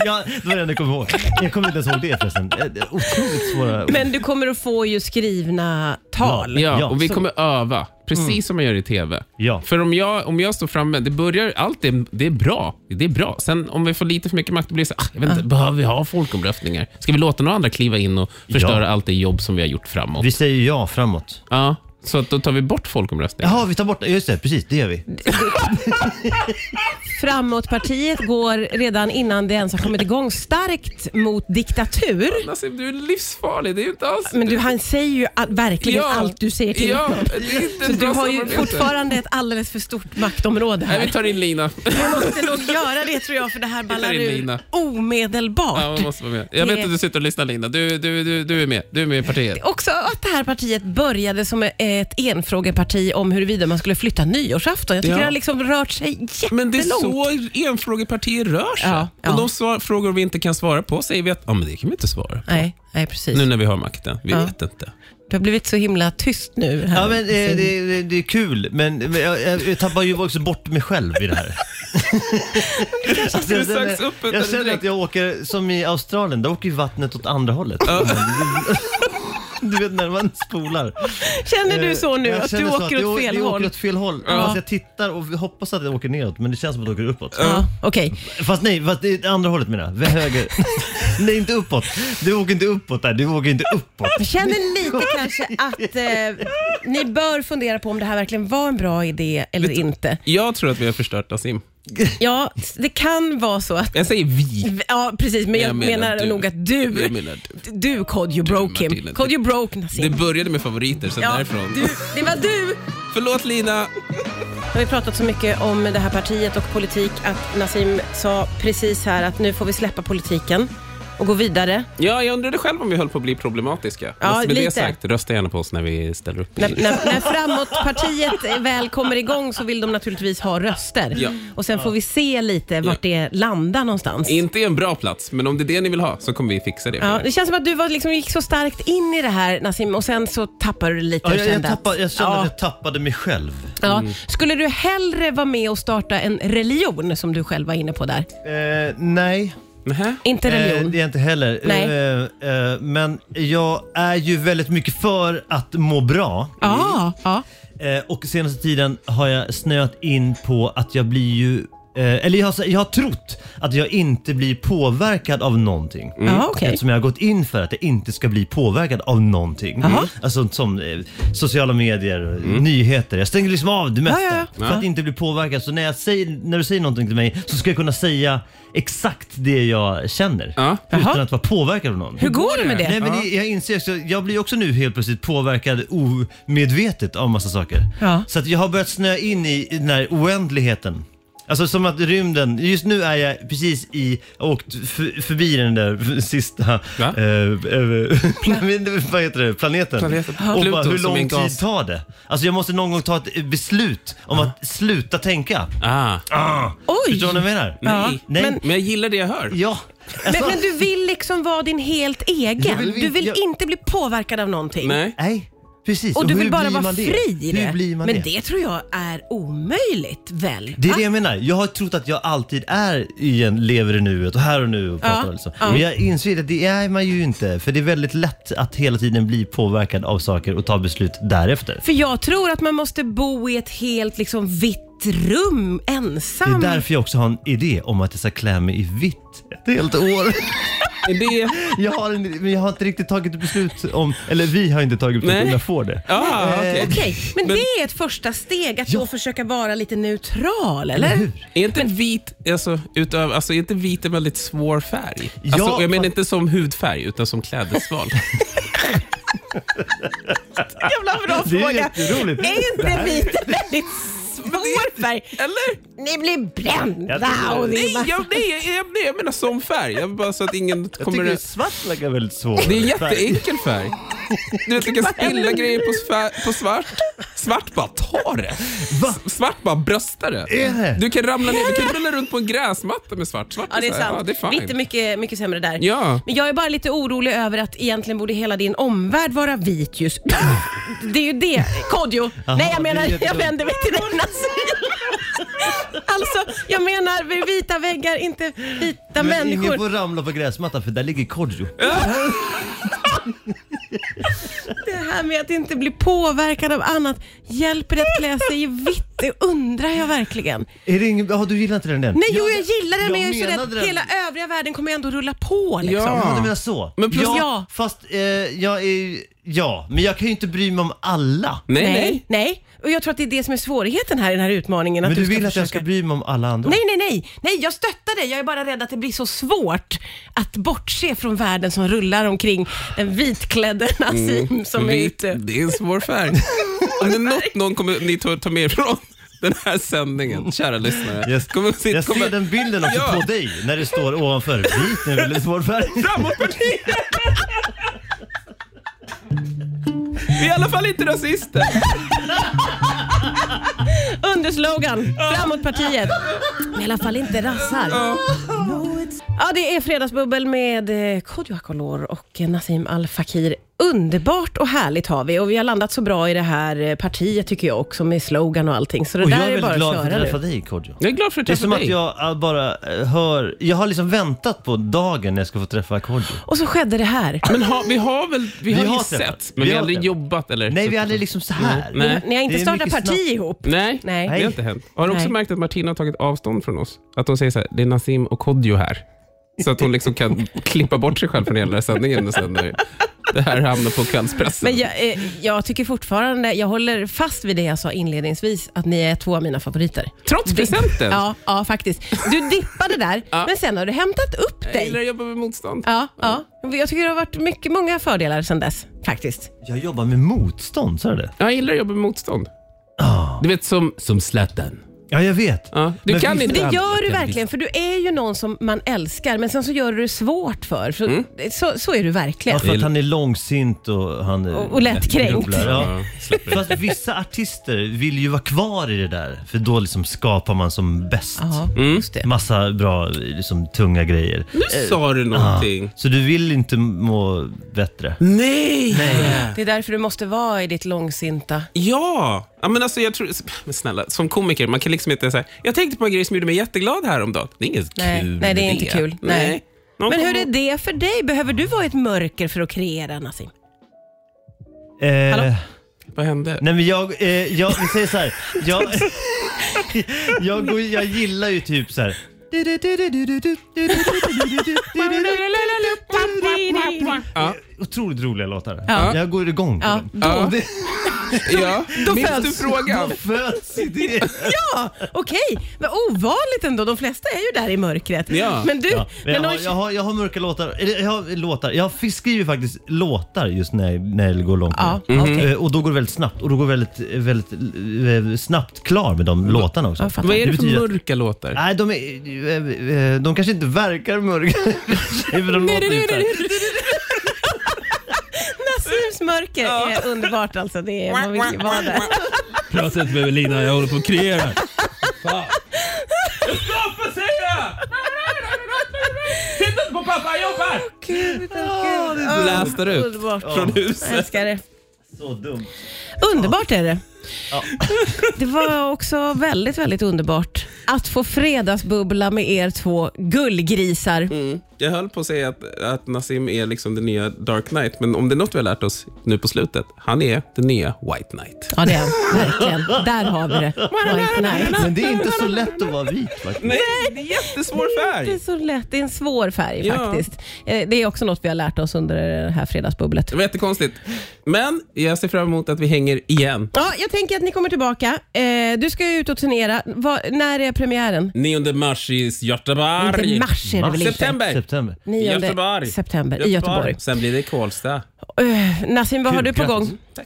[SPEAKER 4] ja, det var det enda jag kom ihåg. Jag kommer inte ens ihåg det förresten. Eh, det är Otroligt svåra ord.
[SPEAKER 2] Men du kommer att få ju skrivna tal.
[SPEAKER 3] Ja, ja,
[SPEAKER 4] Ja,
[SPEAKER 3] och vi
[SPEAKER 4] så- Mm.
[SPEAKER 3] kommer öva, precis som man gör i TV.
[SPEAKER 4] Ja.
[SPEAKER 3] För om jag, om jag står framme, det börjar, allt är, det är bra. Det är bra. Sen om vi får lite för mycket makt, då blir det så, ah, jag vet inte, behöver vi ha folkomröstningar? Ska vi låta några andra kliva in och förstöra
[SPEAKER 4] Ja.
[SPEAKER 3] allt det jobb som vi har gjort framåt?
[SPEAKER 4] Vi säger ja framåt.
[SPEAKER 3] Ja, så att då tar vi bort folkomröstningar.
[SPEAKER 4] Jaha, vi tar bort det. Just det, precis. Det gör vi.
[SPEAKER 2] Framåtpartiet går redan innan det ens har kommit igång starkt mot diktatur.
[SPEAKER 3] Nassim, Alltså, du är livsfarlig. Det är ju inte alls...
[SPEAKER 2] Men du, han säger ju all, verkligen allt du säger till
[SPEAKER 3] Ja,
[SPEAKER 2] honom.
[SPEAKER 3] det är inte
[SPEAKER 2] Så
[SPEAKER 3] ett
[SPEAKER 2] du
[SPEAKER 3] bra
[SPEAKER 2] har ju
[SPEAKER 3] samarbete.
[SPEAKER 2] fortfarande ett alldeles för stort maktområde
[SPEAKER 3] Nej, vi
[SPEAKER 2] här.
[SPEAKER 3] tar
[SPEAKER 2] (laughs)
[SPEAKER 3] in Lina.
[SPEAKER 2] Vi måste nog göra det tror jag, för det här ballar
[SPEAKER 3] in Lina.
[SPEAKER 2] ur
[SPEAKER 3] Ja,
[SPEAKER 2] omedelbart.
[SPEAKER 3] man måste vara med. Jag
[SPEAKER 2] Det-
[SPEAKER 3] vet att du sitter och lyssnar Lina. Du, du, du, du är med. Du är med i partiet.
[SPEAKER 2] Också att det här partiet började som ett enfrågeparti om huruvida man skulle flytta nyårsafton. Jag tycker
[SPEAKER 3] Ja.
[SPEAKER 2] det har liksom rört sig jättelångt.
[SPEAKER 3] Men det är så enfrågepartier rör sig.
[SPEAKER 2] Ja, ja.
[SPEAKER 3] Och de svar, frågor vi inte kan svara på säger vi att ja, men det kan vi inte svara på.
[SPEAKER 2] Nej, nej precis.
[SPEAKER 3] Nu när vi har makten. Vi
[SPEAKER 2] Ja.
[SPEAKER 3] vet inte.
[SPEAKER 2] Du har blivit så himla tyst nu. Här.
[SPEAKER 4] Ja, men eh, det, det, det är kul, men, men jag, jag, jag tappar ju också bort mig själv i det här. Alltså,
[SPEAKER 3] skulle
[SPEAKER 4] jag känner-
[SPEAKER 3] söks upp utan
[SPEAKER 4] jag känner
[SPEAKER 3] direkt.
[SPEAKER 4] att jag åker som i Australien, där åker ju vattnet åt andra hållet. (laughs) Du vet när man spolar.
[SPEAKER 2] Känner du så nu
[SPEAKER 4] Jag
[SPEAKER 2] att du
[SPEAKER 4] känner så
[SPEAKER 2] åker
[SPEAKER 4] jag-
[SPEAKER 2] åt
[SPEAKER 4] jag
[SPEAKER 2] fel
[SPEAKER 4] åker
[SPEAKER 2] håll?
[SPEAKER 4] åt fel håll. Alltså, jag tittar och hoppas att det åker neråt, men det känns som att det åker uppåt.
[SPEAKER 2] Ja, Okej,
[SPEAKER 4] Fast nej, fast det är andra hållet menar jag. Vä-
[SPEAKER 2] (laughs)
[SPEAKER 4] Höger. nej, inte uppåt. Du åker inte uppåt där, du åker inte uppåt.
[SPEAKER 2] jag känner lite kanske att eh, ni bör fundera på om det här verkligen var en bra idé eller inte.
[SPEAKER 3] Jag tror att vi har förstört Nassim.
[SPEAKER 2] Ja, det kan vara så att
[SPEAKER 3] Jag säger vi.
[SPEAKER 2] Ja, precis. Men jag,
[SPEAKER 3] Jag menar
[SPEAKER 2] menar,
[SPEAKER 3] du.
[SPEAKER 2] nog att du,
[SPEAKER 3] Jag menar
[SPEAKER 2] du Kodjo broke
[SPEAKER 3] Martina,
[SPEAKER 2] him. Kodjo broke
[SPEAKER 3] Det
[SPEAKER 2] Nassim.
[SPEAKER 3] började med favoriter, sen därifrån.
[SPEAKER 2] du, det var du!
[SPEAKER 3] Förlåt Lina.
[SPEAKER 2] Nu har vi pratat så mycket om det här partiet och politik att Nassim sa precis här att nu får vi släppa politiken och gå vidare.
[SPEAKER 3] Ja, jag undrade själv om vi höll på att bli problematiska.
[SPEAKER 2] Ja,
[SPEAKER 3] Men med
[SPEAKER 2] lite.
[SPEAKER 3] det sagt, rösta gärna på oss när vi ställer upp.
[SPEAKER 2] När, när, när Framåtpartiet väl kommer igång så vill de naturligtvis ha röster.
[SPEAKER 3] Ja.
[SPEAKER 2] Och sen får vi se lite vart det landar någonstans.
[SPEAKER 3] Inte en bra plats, men om det är det ni vill ha så kommer vi fixa det. för
[SPEAKER 2] Ja,
[SPEAKER 3] er.
[SPEAKER 2] det känns som att du var, liksom, gick så starkt in i det här Nassim och sen så tappade du det lite.
[SPEAKER 4] Ja,
[SPEAKER 2] och
[SPEAKER 4] jag, jag,
[SPEAKER 2] kände att-
[SPEAKER 4] tappade, jag Mm. kände
[SPEAKER 2] Ja.
[SPEAKER 4] att jag tappade mig själv.
[SPEAKER 2] Ja. Skulle du hellre vara med och starta en religion som du själv var inne på där?
[SPEAKER 4] Eh, nej,
[SPEAKER 3] Nähä?
[SPEAKER 2] Inte
[SPEAKER 4] eh,
[SPEAKER 2] religion.
[SPEAKER 4] det är jag inte heller.
[SPEAKER 2] Nej.
[SPEAKER 4] Eh, eh, men jag är ju väldigt mycket för att må bra.
[SPEAKER 2] Ja, ja.
[SPEAKER 4] Eh, och senaste tiden har jag snöat in på att jag blir ju eh, eller jag har, jag har trott att jag inte blir påverkad av någonting.
[SPEAKER 2] Ja, okej.
[SPEAKER 4] Eftersom Mm. jag har gått in för att jag inte ska bli påverkad av någonting.
[SPEAKER 2] Jaha.
[SPEAKER 4] Alltså som eh, sociala medier, eh, nyheter. Jag stänger liksom av det mesta
[SPEAKER 2] Ja, ja,
[SPEAKER 4] för att inte bli påverkad. Så när, jag säger, när du säger någonting till mig så ska jag kunna säga exakt det jag känner.
[SPEAKER 3] Ja.
[SPEAKER 4] Utan
[SPEAKER 2] Jaha.
[SPEAKER 4] att vara påverkad av någon.
[SPEAKER 2] Hur går det med det?
[SPEAKER 4] Nej, men det, jag inser också, jag blir också nu helt plötsligt påverkad omedvetet av massa saker.
[SPEAKER 2] Ja.
[SPEAKER 4] Så att jag har börjat snöa in i i den här oändligheten. Alltså som att rymden, just nu är jag precis i, jag har åkt f- förbi den där (laughs) f- sista,
[SPEAKER 3] Va?
[SPEAKER 4] eh, (laughs) eh, nej, men vad heter det, planeten.
[SPEAKER 3] Planeten.
[SPEAKER 4] Och
[SPEAKER 3] Pluto
[SPEAKER 4] bara, hur
[SPEAKER 3] som är en
[SPEAKER 4] lång
[SPEAKER 3] gas.
[SPEAKER 4] tid tar det? Alltså jag måste någon gång ta ett beslut om att sluta tänka.
[SPEAKER 3] Ah,
[SPEAKER 2] Oj!
[SPEAKER 4] Förstår ni vad jag menar?
[SPEAKER 2] Ja.
[SPEAKER 3] nej.
[SPEAKER 4] Nej.
[SPEAKER 3] Men jag gillar det jag hör.
[SPEAKER 4] Ja.
[SPEAKER 2] Men,
[SPEAKER 4] Alltså,
[SPEAKER 2] men du vill liksom vara din helt egen.
[SPEAKER 4] Jag vill-
[SPEAKER 2] du vill
[SPEAKER 4] jag-
[SPEAKER 2] inte bli påverkad av någonting.
[SPEAKER 3] Nej.
[SPEAKER 4] nej, precis.
[SPEAKER 2] Och du
[SPEAKER 4] hur
[SPEAKER 2] vill bara
[SPEAKER 4] blir
[SPEAKER 2] vara
[SPEAKER 4] man det?
[SPEAKER 2] fri i det.
[SPEAKER 4] Hur blir man
[SPEAKER 2] men
[SPEAKER 4] det?
[SPEAKER 2] det? tror jag är omöjligt väl?
[SPEAKER 4] Det är
[SPEAKER 2] Va?
[SPEAKER 4] det jag menar. Jag har trott att jag alltid är i en lever i nuet och här och nu och pratar
[SPEAKER 2] Ja,
[SPEAKER 4] och så.
[SPEAKER 2] ja.
[SPEAKER 4] Men jag inser att det är man ju inte. För det är väldigt lätt att hela tiden bli påverkad av saker och ta beslut därefter.
[SPEAKER 2] För jag tror att man måste bo i ett helt liksom vitt rum
[SPEAKER 4] Det är
[SPEAKER 2] ensam.
[SPEAKER 4] därför jag också har en idé om att jag ska klä mig i vitt ett helt år. (laughs)
[SPEAKER 3] Är Det...
[SPEAKER 4] Jag har, en, men jag har inte riktigt tagit ett beslut om, eller vi har inte tagit ett beslut
[SPEAKER 3] Nej.
[SPEAKER 4] om jag får det.
[SPEAKER 3] Ah, okej.
[SPEAKER 2] Eh, Okej, men,
[SPEAKER 3] Men-
[SPEAKER 2] det är ett första steg att
[SPEAKER 4] Ja.
[SPEAKER 2] då försöka vara lite neutral, eller?
[SPEAKER 4] Hur?
[SPEAKER 3] Är inte vit, alltså, utöv, alltså, är inte vit en väldigt svår färg?
[SPEAKER 4] Ja,
[SPEAKER 3] Alltså, jag menar
[SPEAKER 4] fast-
[SPEAKER 3] inte som hudfärg, utan som klädesval.
[SPEAKER 2] Jävla bra
[SPEAKER 4] Det är
[SPEAKER 2] fråga.
[SPEAKER 4] jätteroligt.
[SPEAKER 2] Är inte vit en (laughs) väldigt svår färg?
[SPEAKER 3] Eller?
[SPEAKER 2] Ni blir
[SPEAKER 4] Jag
[SPEAKER 2] brända
[SPEAKER 4] tycker-
[SPEAKER 2] och det
[SPEAKER 3] Nej,
[SPEAKER 2] är
[SPEAKER 3] jag,
[SPEAKER 2] massa-
[SPEAKER 3] nej, jag, jag, nej, jag menar som färg. Jag vill bara så att ingen
[SPEAKER 4] Jag tycker
[SPEAKER 3] kommer...
[SPEAKER 4] det är svart verkar väldigt svårt.
[SPEAKER 3] Det är en jätteenkel färg. Du vet, du kan spilla grejer på, svär, på svart. Svart bara tar det.
[SPEAKER 4] Va?
[SPEAKER 3] S- Svart bara bröstar det.
[SPEAKER 4] Är det?
[SPEAKER 3] Du kan ramla ner, du kan rulla runt på en gräsmatta med svart. Svart
[SPEAKER 2] Ja, det är
[SPEAKER 3] så här,
[SPEAKER 2] sant.
[SPEAKER 3] Ja, det är
[SPEAKER 2] Vitt är
[SPEAKER 3] fine.
[SPEAKER 2] mycket, mycket sämre där.
[SPEAKER 3] Ja.
[SPEAKER 2] Men jag är bara lite orolig över att egentligen borde hela din omvärld vara vit just Det är ju det. Kodjo! Nej, jag
[SPEAKER 4] det är
[SPEAKER 2] menar, jag
[SPEAKER 4] jättedumt.
[SPEAKER 2] vänder mig till dig Nassim. Alltså, jag menar vid vita väggar, inte vita
[SPEAKER 4] Men ingen
[SPEAKER 2] människor.
[SPEAKER 4] får ramla på gräsmattan för där ligger Kodjo.
[SPEAKER 2] Det här med att inte bli påverkad av annat, hjälper det att klä sig i vitt? Det undrar jag verkligen.
[SPEAKER 4] Är det ingen, ja, du gillar inte den än?
[SPEAKER 2] Nej, jo, jag gillar det, men jag är så
[SPEAKER 4] menade
[SPEAKER 2] rädd.
[SPEAKER 4] den.
[SPEAKER 2] Hela övriga världen kommer ju ändå rulla på liksom.
[SPEAKER 3] Ja.
[SPEAKER 4] Ja, du menar så.
[SPEAKER 3] Men plus-
[SPEAKER 4] ja,
[SPEAKER 2] Ja.
[SPEAKER 4] Fast eh, jag är ju- Ja, men jag kan ju inte bry mig om alla.
[SPEAKER 3] Nej,
[SPEAKER 2] Nej,
[SPEAKER 3] nej.
[SPEAKER 2] nej. Och jag tror att det är det som är svårigheten här i den här utmaningen.
[SPEAKER 4] Men
[SPEAKER 2] att
[SPEAKER 4] du
[SPEAKER 2] ska
[SPEAKER 4] vill att jag
[SPEAKER 2] försöka-
[SPEAKER 4] ska bry mig om alla andra?
[SPEAKER 2] Nej, nej, nej. Nej, jag stöttar dig. Jag är bara rädd att det blir så svårt att bortse från världen som rullar omkring den vitklädde
[SPEAKER 4] Mm.
[SPEAKER 2] Nassim som är
[SPEAKER 3] Vitt,
[SPEAKER 2] ute.
[SPEAKER 3] det Mm, är en svår (laughs) färg. Om det är något någon kommer ni ta, ta med ifrån den här sändningen, kära lyssnare.
[SPEAKER 4] Jag,
[SPEAKER 3] Kommer, sitt-
[SPEAKER 4] jag
[SPEAKER 3] kommer,
[SPEAKER 4] ser den bilden också
[SPEAKER 3] Ja.
[SPEAKER 4] på dig när det står ovanför. Vit nu, väldigt svår färg.
[SPEAKER 3] Framåtpartiet! (laughs) Vi är i alla fall inte rasister.
[SPEAKER 2] Under slogan, framåt partiet. Men I alla fall inte rassar. No, it's- Ja, det är Fredagsbubbel med eh, Kodjo Akolor och eh, Nassim Al Fakir. Underbart och härligt har vi och vi har landat så bra i det här eh, partiet tycker jag också med slogan och allting. Så det
[SPEAKER 4] Och jag
[SPEAKER 2] där
[SPEAKER 4] är
[SPEAKER 2] är bara
[SPEAKER 4] väldigt glad för
[SPEAKER 2] att
[SPEAKER 4] att
[SPEAKER 2] köra nu.
[SPEAKER 4] träffa dig Kodjo.
[SPEAKER 3] Jag är glad för att
[SPEAKER 4] Det är
[SPEAKER 3] träffa
[SPEAKER 4] som att
[SPEAKER 3] dig.
[SPEAKER 4] jag eh, bara eh, hör... Jag har liksom väntat på dagen när jag ska få träffa Kodjo.
[SPEAKER 2] Och så skedde det här.
[SPEAKER 3] Men har- vi har väl vi har
[SPEAKER 4] har
[SPEAKER 3] ju
[SPEAKER 4] träffat.
[SPEAKER 3] sett, men
[SPEAKER 4] Vi
[SPEAKER 3] vi har
[SPEAKER 4] har
[SPEAKER 3] aldrig
[SPEAKER 4] träffat.
[SPEAKER 3] jobbat eller?
[SPEAKER 4] Nej, vi är aldrig liksom så här.
[SPEAKER 3] Nej.
[SPEAKER 2] Ni har inte
[SPEAKER 4] Det är
[SPEAKER 2] startat
[SPEAKER 4] mycket
[SPEAKER 2] parti
[SPEAKER 4] snabbt.
[SPEAKER 2] ihop?
[SPEAKER 3] Nej,
[SPEAKER 2] Nej.
[SPEAKER 3] det har inte hänt. Har du också
[SPEAKER 2] Nej.
[SPEAKER 3] märkt att Martina har tagit avstånd från oss? Att hon säger så här, det är Nassim och Kodjo här. Så att hon
[SPEAKER 2] (laughs)
[SPEAKER 3] liksom kan klippa bort sig själv från hela den här sändningen och sen när det här hamnar på kvällspressen.
[SPEAKER 2] Men jag, eh, jag tycker fortfarande, jag håller fast vid det jag sa inledningsvis, att ni är två av mina favoriter.
[SPEAKER 3] Trots
[SPEAKER 2] Dipp-
[SPEAKER 3] presenten?
[SPEAKER 2] Ja, ja, faktiskt. Du dippade där, men sen har du hämtat upp
[SPEAKER 3] jag
[SPEAKER 2] dig.
[SPEAKER 3] gillar att jobba med motstånd.
[SPEAKER 2] Ja, ja. Jag tycker det har varit mycket många fördelar sedan dess, faktiskt.
[SPEAKER 4] Jag jobbar med motstånd, sa du det?
[SPEAKER 3] Ja, Jag gillar att jobba med motstånd. Du vet som, som Zlatan.
[SPEAKER 4] Ja, jag vet.
[SPEAKER 3] Ja, du
[SPEAKER 4] Men
[SPEAKER 3] kan
[SPEAKER 4] vi-
[SPEAKER 2] Men
[SPEAKER 3] inte
[SPEAKER 2] det
[SPEAKER 3] allt.
[SPEAKER 2] gör du verkligen, för du är ju någon som man älskar, men sen så gör du det svårt för. Så, så, så är du verkligen.
[SPEAKER 4] Mm. Ja, för att han är långsint och han...
[SPEAKER 2] Och- och lättkränkt.
[SPEAKER 4] grubblar. Ja.
[SPEAKER 3] Ja, släpper det.
[SPEAKER 4] Fast vissa artister vill ju vara kvar i det där, för då liksom skapar man som bäst.
[SPEAKER 2] Ja, just det.
[SPEAKER 4] Massa bra, liksom tunga grejer.
[SPEAKER 2] Eh.
[SPEAKER 3] Nu sa du någonting.
[SPEAKER 4] Så du vill inte må bättre?
[SPEAKER 3] Nej!
[SPEAKER 2] Det är därför du måste vara i ditt långsinta.
[SPEAKER 3] Ja! ja men alltså, jag tror, men snälla, som komiker, man kan liksom inte säga jag tänkte på en grej som gjorde mig jätteglad häromdagen. Det är inget
[SPEAKER 2] Nej,
[SPEAKER 3] kul
[SPEAKER 2] nej, det är
[SPEAKER 3] med
[SPEAKER 2] inte kul. Nej.
[SPEAKER 3] Någon
[SPEAKER 2] Men hur
[SPEAKER 3] kommer-
[SPEAKER 2] är det för dig? Behöver du vara i ett mörker för att kreera, Nassim?
[SPEAKER 4] Eh,
[SPEAKER 3] Vad hände?
[SPEAKER 4] Nej men jag, eh, jag, vi säger så här.
[SPEAKER 2] (laughs)
[SPEAKER 4] Jag, jag, går, jag gillar ju typ så här.
[SPEAKER 3] Ja.
[SPEAKER 4] Otroligt roliga låtar.
[SPEAKER 2] Ja.
[SPEAKER 4] Jag går igång på
[SPEAKER 2] Ja.
[SPEAKER 4] dem.
[SPEAKER 3] Ja. (laughs)
[SPEAKER 4] Det-
[SPEAKER 3] Ja.
[SPEAKER 2] då
[SPEAKER 3] Minns
[SPEAKER 2] föds-
[SPEAKER 3] du frågan?
[SPEAKER 4] De föds i det.
[SPEAKER 2] Ja, okej. Vad ovanligt ändå. De flesta är ju där i mörkret.
[SPEAKER 3] Ja.
[SPEAKER 2] Men du,
[SPEAKER 4] (laughs) Ja,
[SPEAKER 2] men
[SPEAKER 4] men jag,
[SPEAKER 2] de-
[SPEAKER 4] har, jag, har, jag har mörka låtar. Eller jag har låtar. Jag fick- skriver ju faktiskt låtar just när, jag- när det går långt.
[SPEAKER 2] Ja, Mhm. okej.
[SPEAKER 4] Eh, Och då går det väldigt snabbt. Och då går det väldigt, väldigt eh, snabbt klar med de låtarna också.
[SPEAKER 2] Mm. Ja, fattar.
[SPEAKER 3] Vad är det för
[SPEAKER 4] betyder att-
[SPEAKER 3] mörka låtar?
[SPEAKER 4] Nej, de, är, eh, eh, de kanske inte
[SPEAKER 2] (laughs)
[SPEAKER 4] verkar mörka. för de låter ju så här.
[SPEAKER 2] Nassims mörker är underbart alltså. Det är, man vill ju vara där.
[SPEAKER 3] Prata inte med Lina, jag håller på att kreera. Stoppa säger jag! Titta inte på pappa, jag jobbar!
[SPEAKER 2] Gud,
[SPEAKER 4] Ja, det är
[SPEAKER 2] gud.
[SPEAKER 3] Blastar ut
[SPEAKER 2] Underbart.
[SPEAKER 3] från
[SPEAKER 2] Jag
[SPEAKER 3] huset.
[SPEAKER 2] älskar det.
[SPEAKER 4] så dumt.
[SPEAKER 2] Underbart är det. Det var också väldigt, väldigt underbart att få fredagsbubbla med er två gullgrisar.
[SPEAKER 3] Mm. Jag höll på att säga att, att Nassim är liksom den nya Dark Knight, men om det är något vi har lärt oss nu på slutet, han är den nya White Knight.
[SPEAKER 2] Ja, det är han. Verkligen. Där har vi det. White Knight.
[SPEAKER 4] Men det är inte så lätt att vara vit faktiskt.
[SPEAKER 3] Nej, det är jättesvår
[SPEAKER 2] Det är
[SPEAKER 3] färg.
[SPEAKER 2] så lätt. Det är en svår färg
[SPEAKER 3] Ja.
[SPEAKER 2] faktiskt. Eh, Det är också något vi har lärt oss under det här fredagsbubblet.
[SPEAKER 3] Det var jättekonstigt. Men jag ser fram emot att vi hänger igen.
[SPEAKER 2] Ja, jag tänker att ni kommer tillbaka. Eh, du ska ju ut och turnera. Va, när är premiären?
[SPEAKER 3] 9 mars i Göteborg.
[SPEAKER 2] Inte mars är det väl inte?
[SPEAKER 3] September.
[SPEAKER 4] September.
[SPEAKER 2] 9
[SPEAKER 3] Göteborg.
[SPEAKER 2] september i Göteborg.
[SPEAKER 3] Sen blir det Karlstad.
[SPEAKER 2] Eh, Nassim, vad har
[SPEAKER 4] Kul,
[SPEAKER 2] du på
[SPEAKER 4] grattis.
[SPEAKER 2] gång?
[SPEAKER 3] Tack.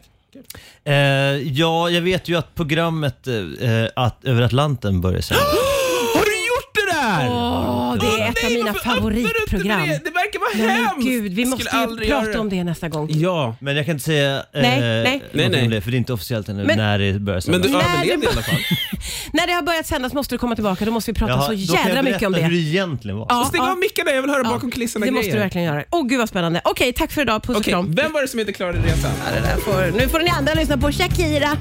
[SPEAKER 4] Eh, ja, jag vet ju att programmet eh, eh, att, Över Atlanten börjar sändas.
[SPEAKER 3] (gasps) Har du gjort det där?
[SPEAKER 2] Åh, det är ett av
[SPEAKER 3] Nej,
[SPEAKER 2] mina
[SPEAKER 3] varför öppnar du inte
[SPEAKER 2] favoritprogram.
[SPEAKER 3] med Det, det verkar vara
[SPEAKER 2] Nej,
[SPEAKER 3] hemskt.
[SPEAKER 2] men gud, vi
[SPEAKER 3] Skulle
[SPEAKER 2] måste ju
[SPEAKER 3] aldrig göra
[SPEAKER 2] prata om det nästa gång.
[SPEAKER 3] Ja,
[SPEAKER 4] Men jag kan inte säga eh,
[SPEAKER 2] Nej, nej.
[SPEAKER 4] någonting
[SPEAKER 3] Nej, nej.
[SPEAKER 4] om det, för det är inte officiellt ännu
[SPEAKER 2] Men-
[SPEAKER 4] när det börjar
[SPEAKER 3] men
[SPEAKER 4] sändas.
[SPEAKER 3] du
[SPEAKER 2] Nej,
[SPEAKER 3] överlevde
[SPEAKER 2] det-
[SPEAKER 3] i alla fall.
[SPEAKER 2] När det har börjat sändas måste du komma tillbaka. Då måste vi prata
[SPEAKER 4] Jaha,
[SPEAKER 2] så
[SPEAKER 4] då kan
[SPEAKER 2] jädra
[SPEAKER 4] jag
[SPEAKER 2] mycket om
[SPEAKER 4] berätta hur det
[SPEAKER 2] det.
[SPEAKER 4] egentligen var.
[SPEAKER 2] Ja,
[SPEAKER 3] Och stäng
[SPEAKER 2] ja.
[SPEAKER 3] av micken där, jag vill höra bakom kulisserna
[SPEAKER 2] Det
[SPEAKER 3] grejer.
[SPEAKER 2] måste du verkligen göra. Åh gud vad spännande. Okej, tack för idag. Puss och
[SPEAKER 3] Okej,
[SPEAKER 2] kram.
[SPEAKER 3] vem var det som inte klarade resan?
[SPEAKER 2] Ja, det där får- Nu får ni andra lyssna på Shakira.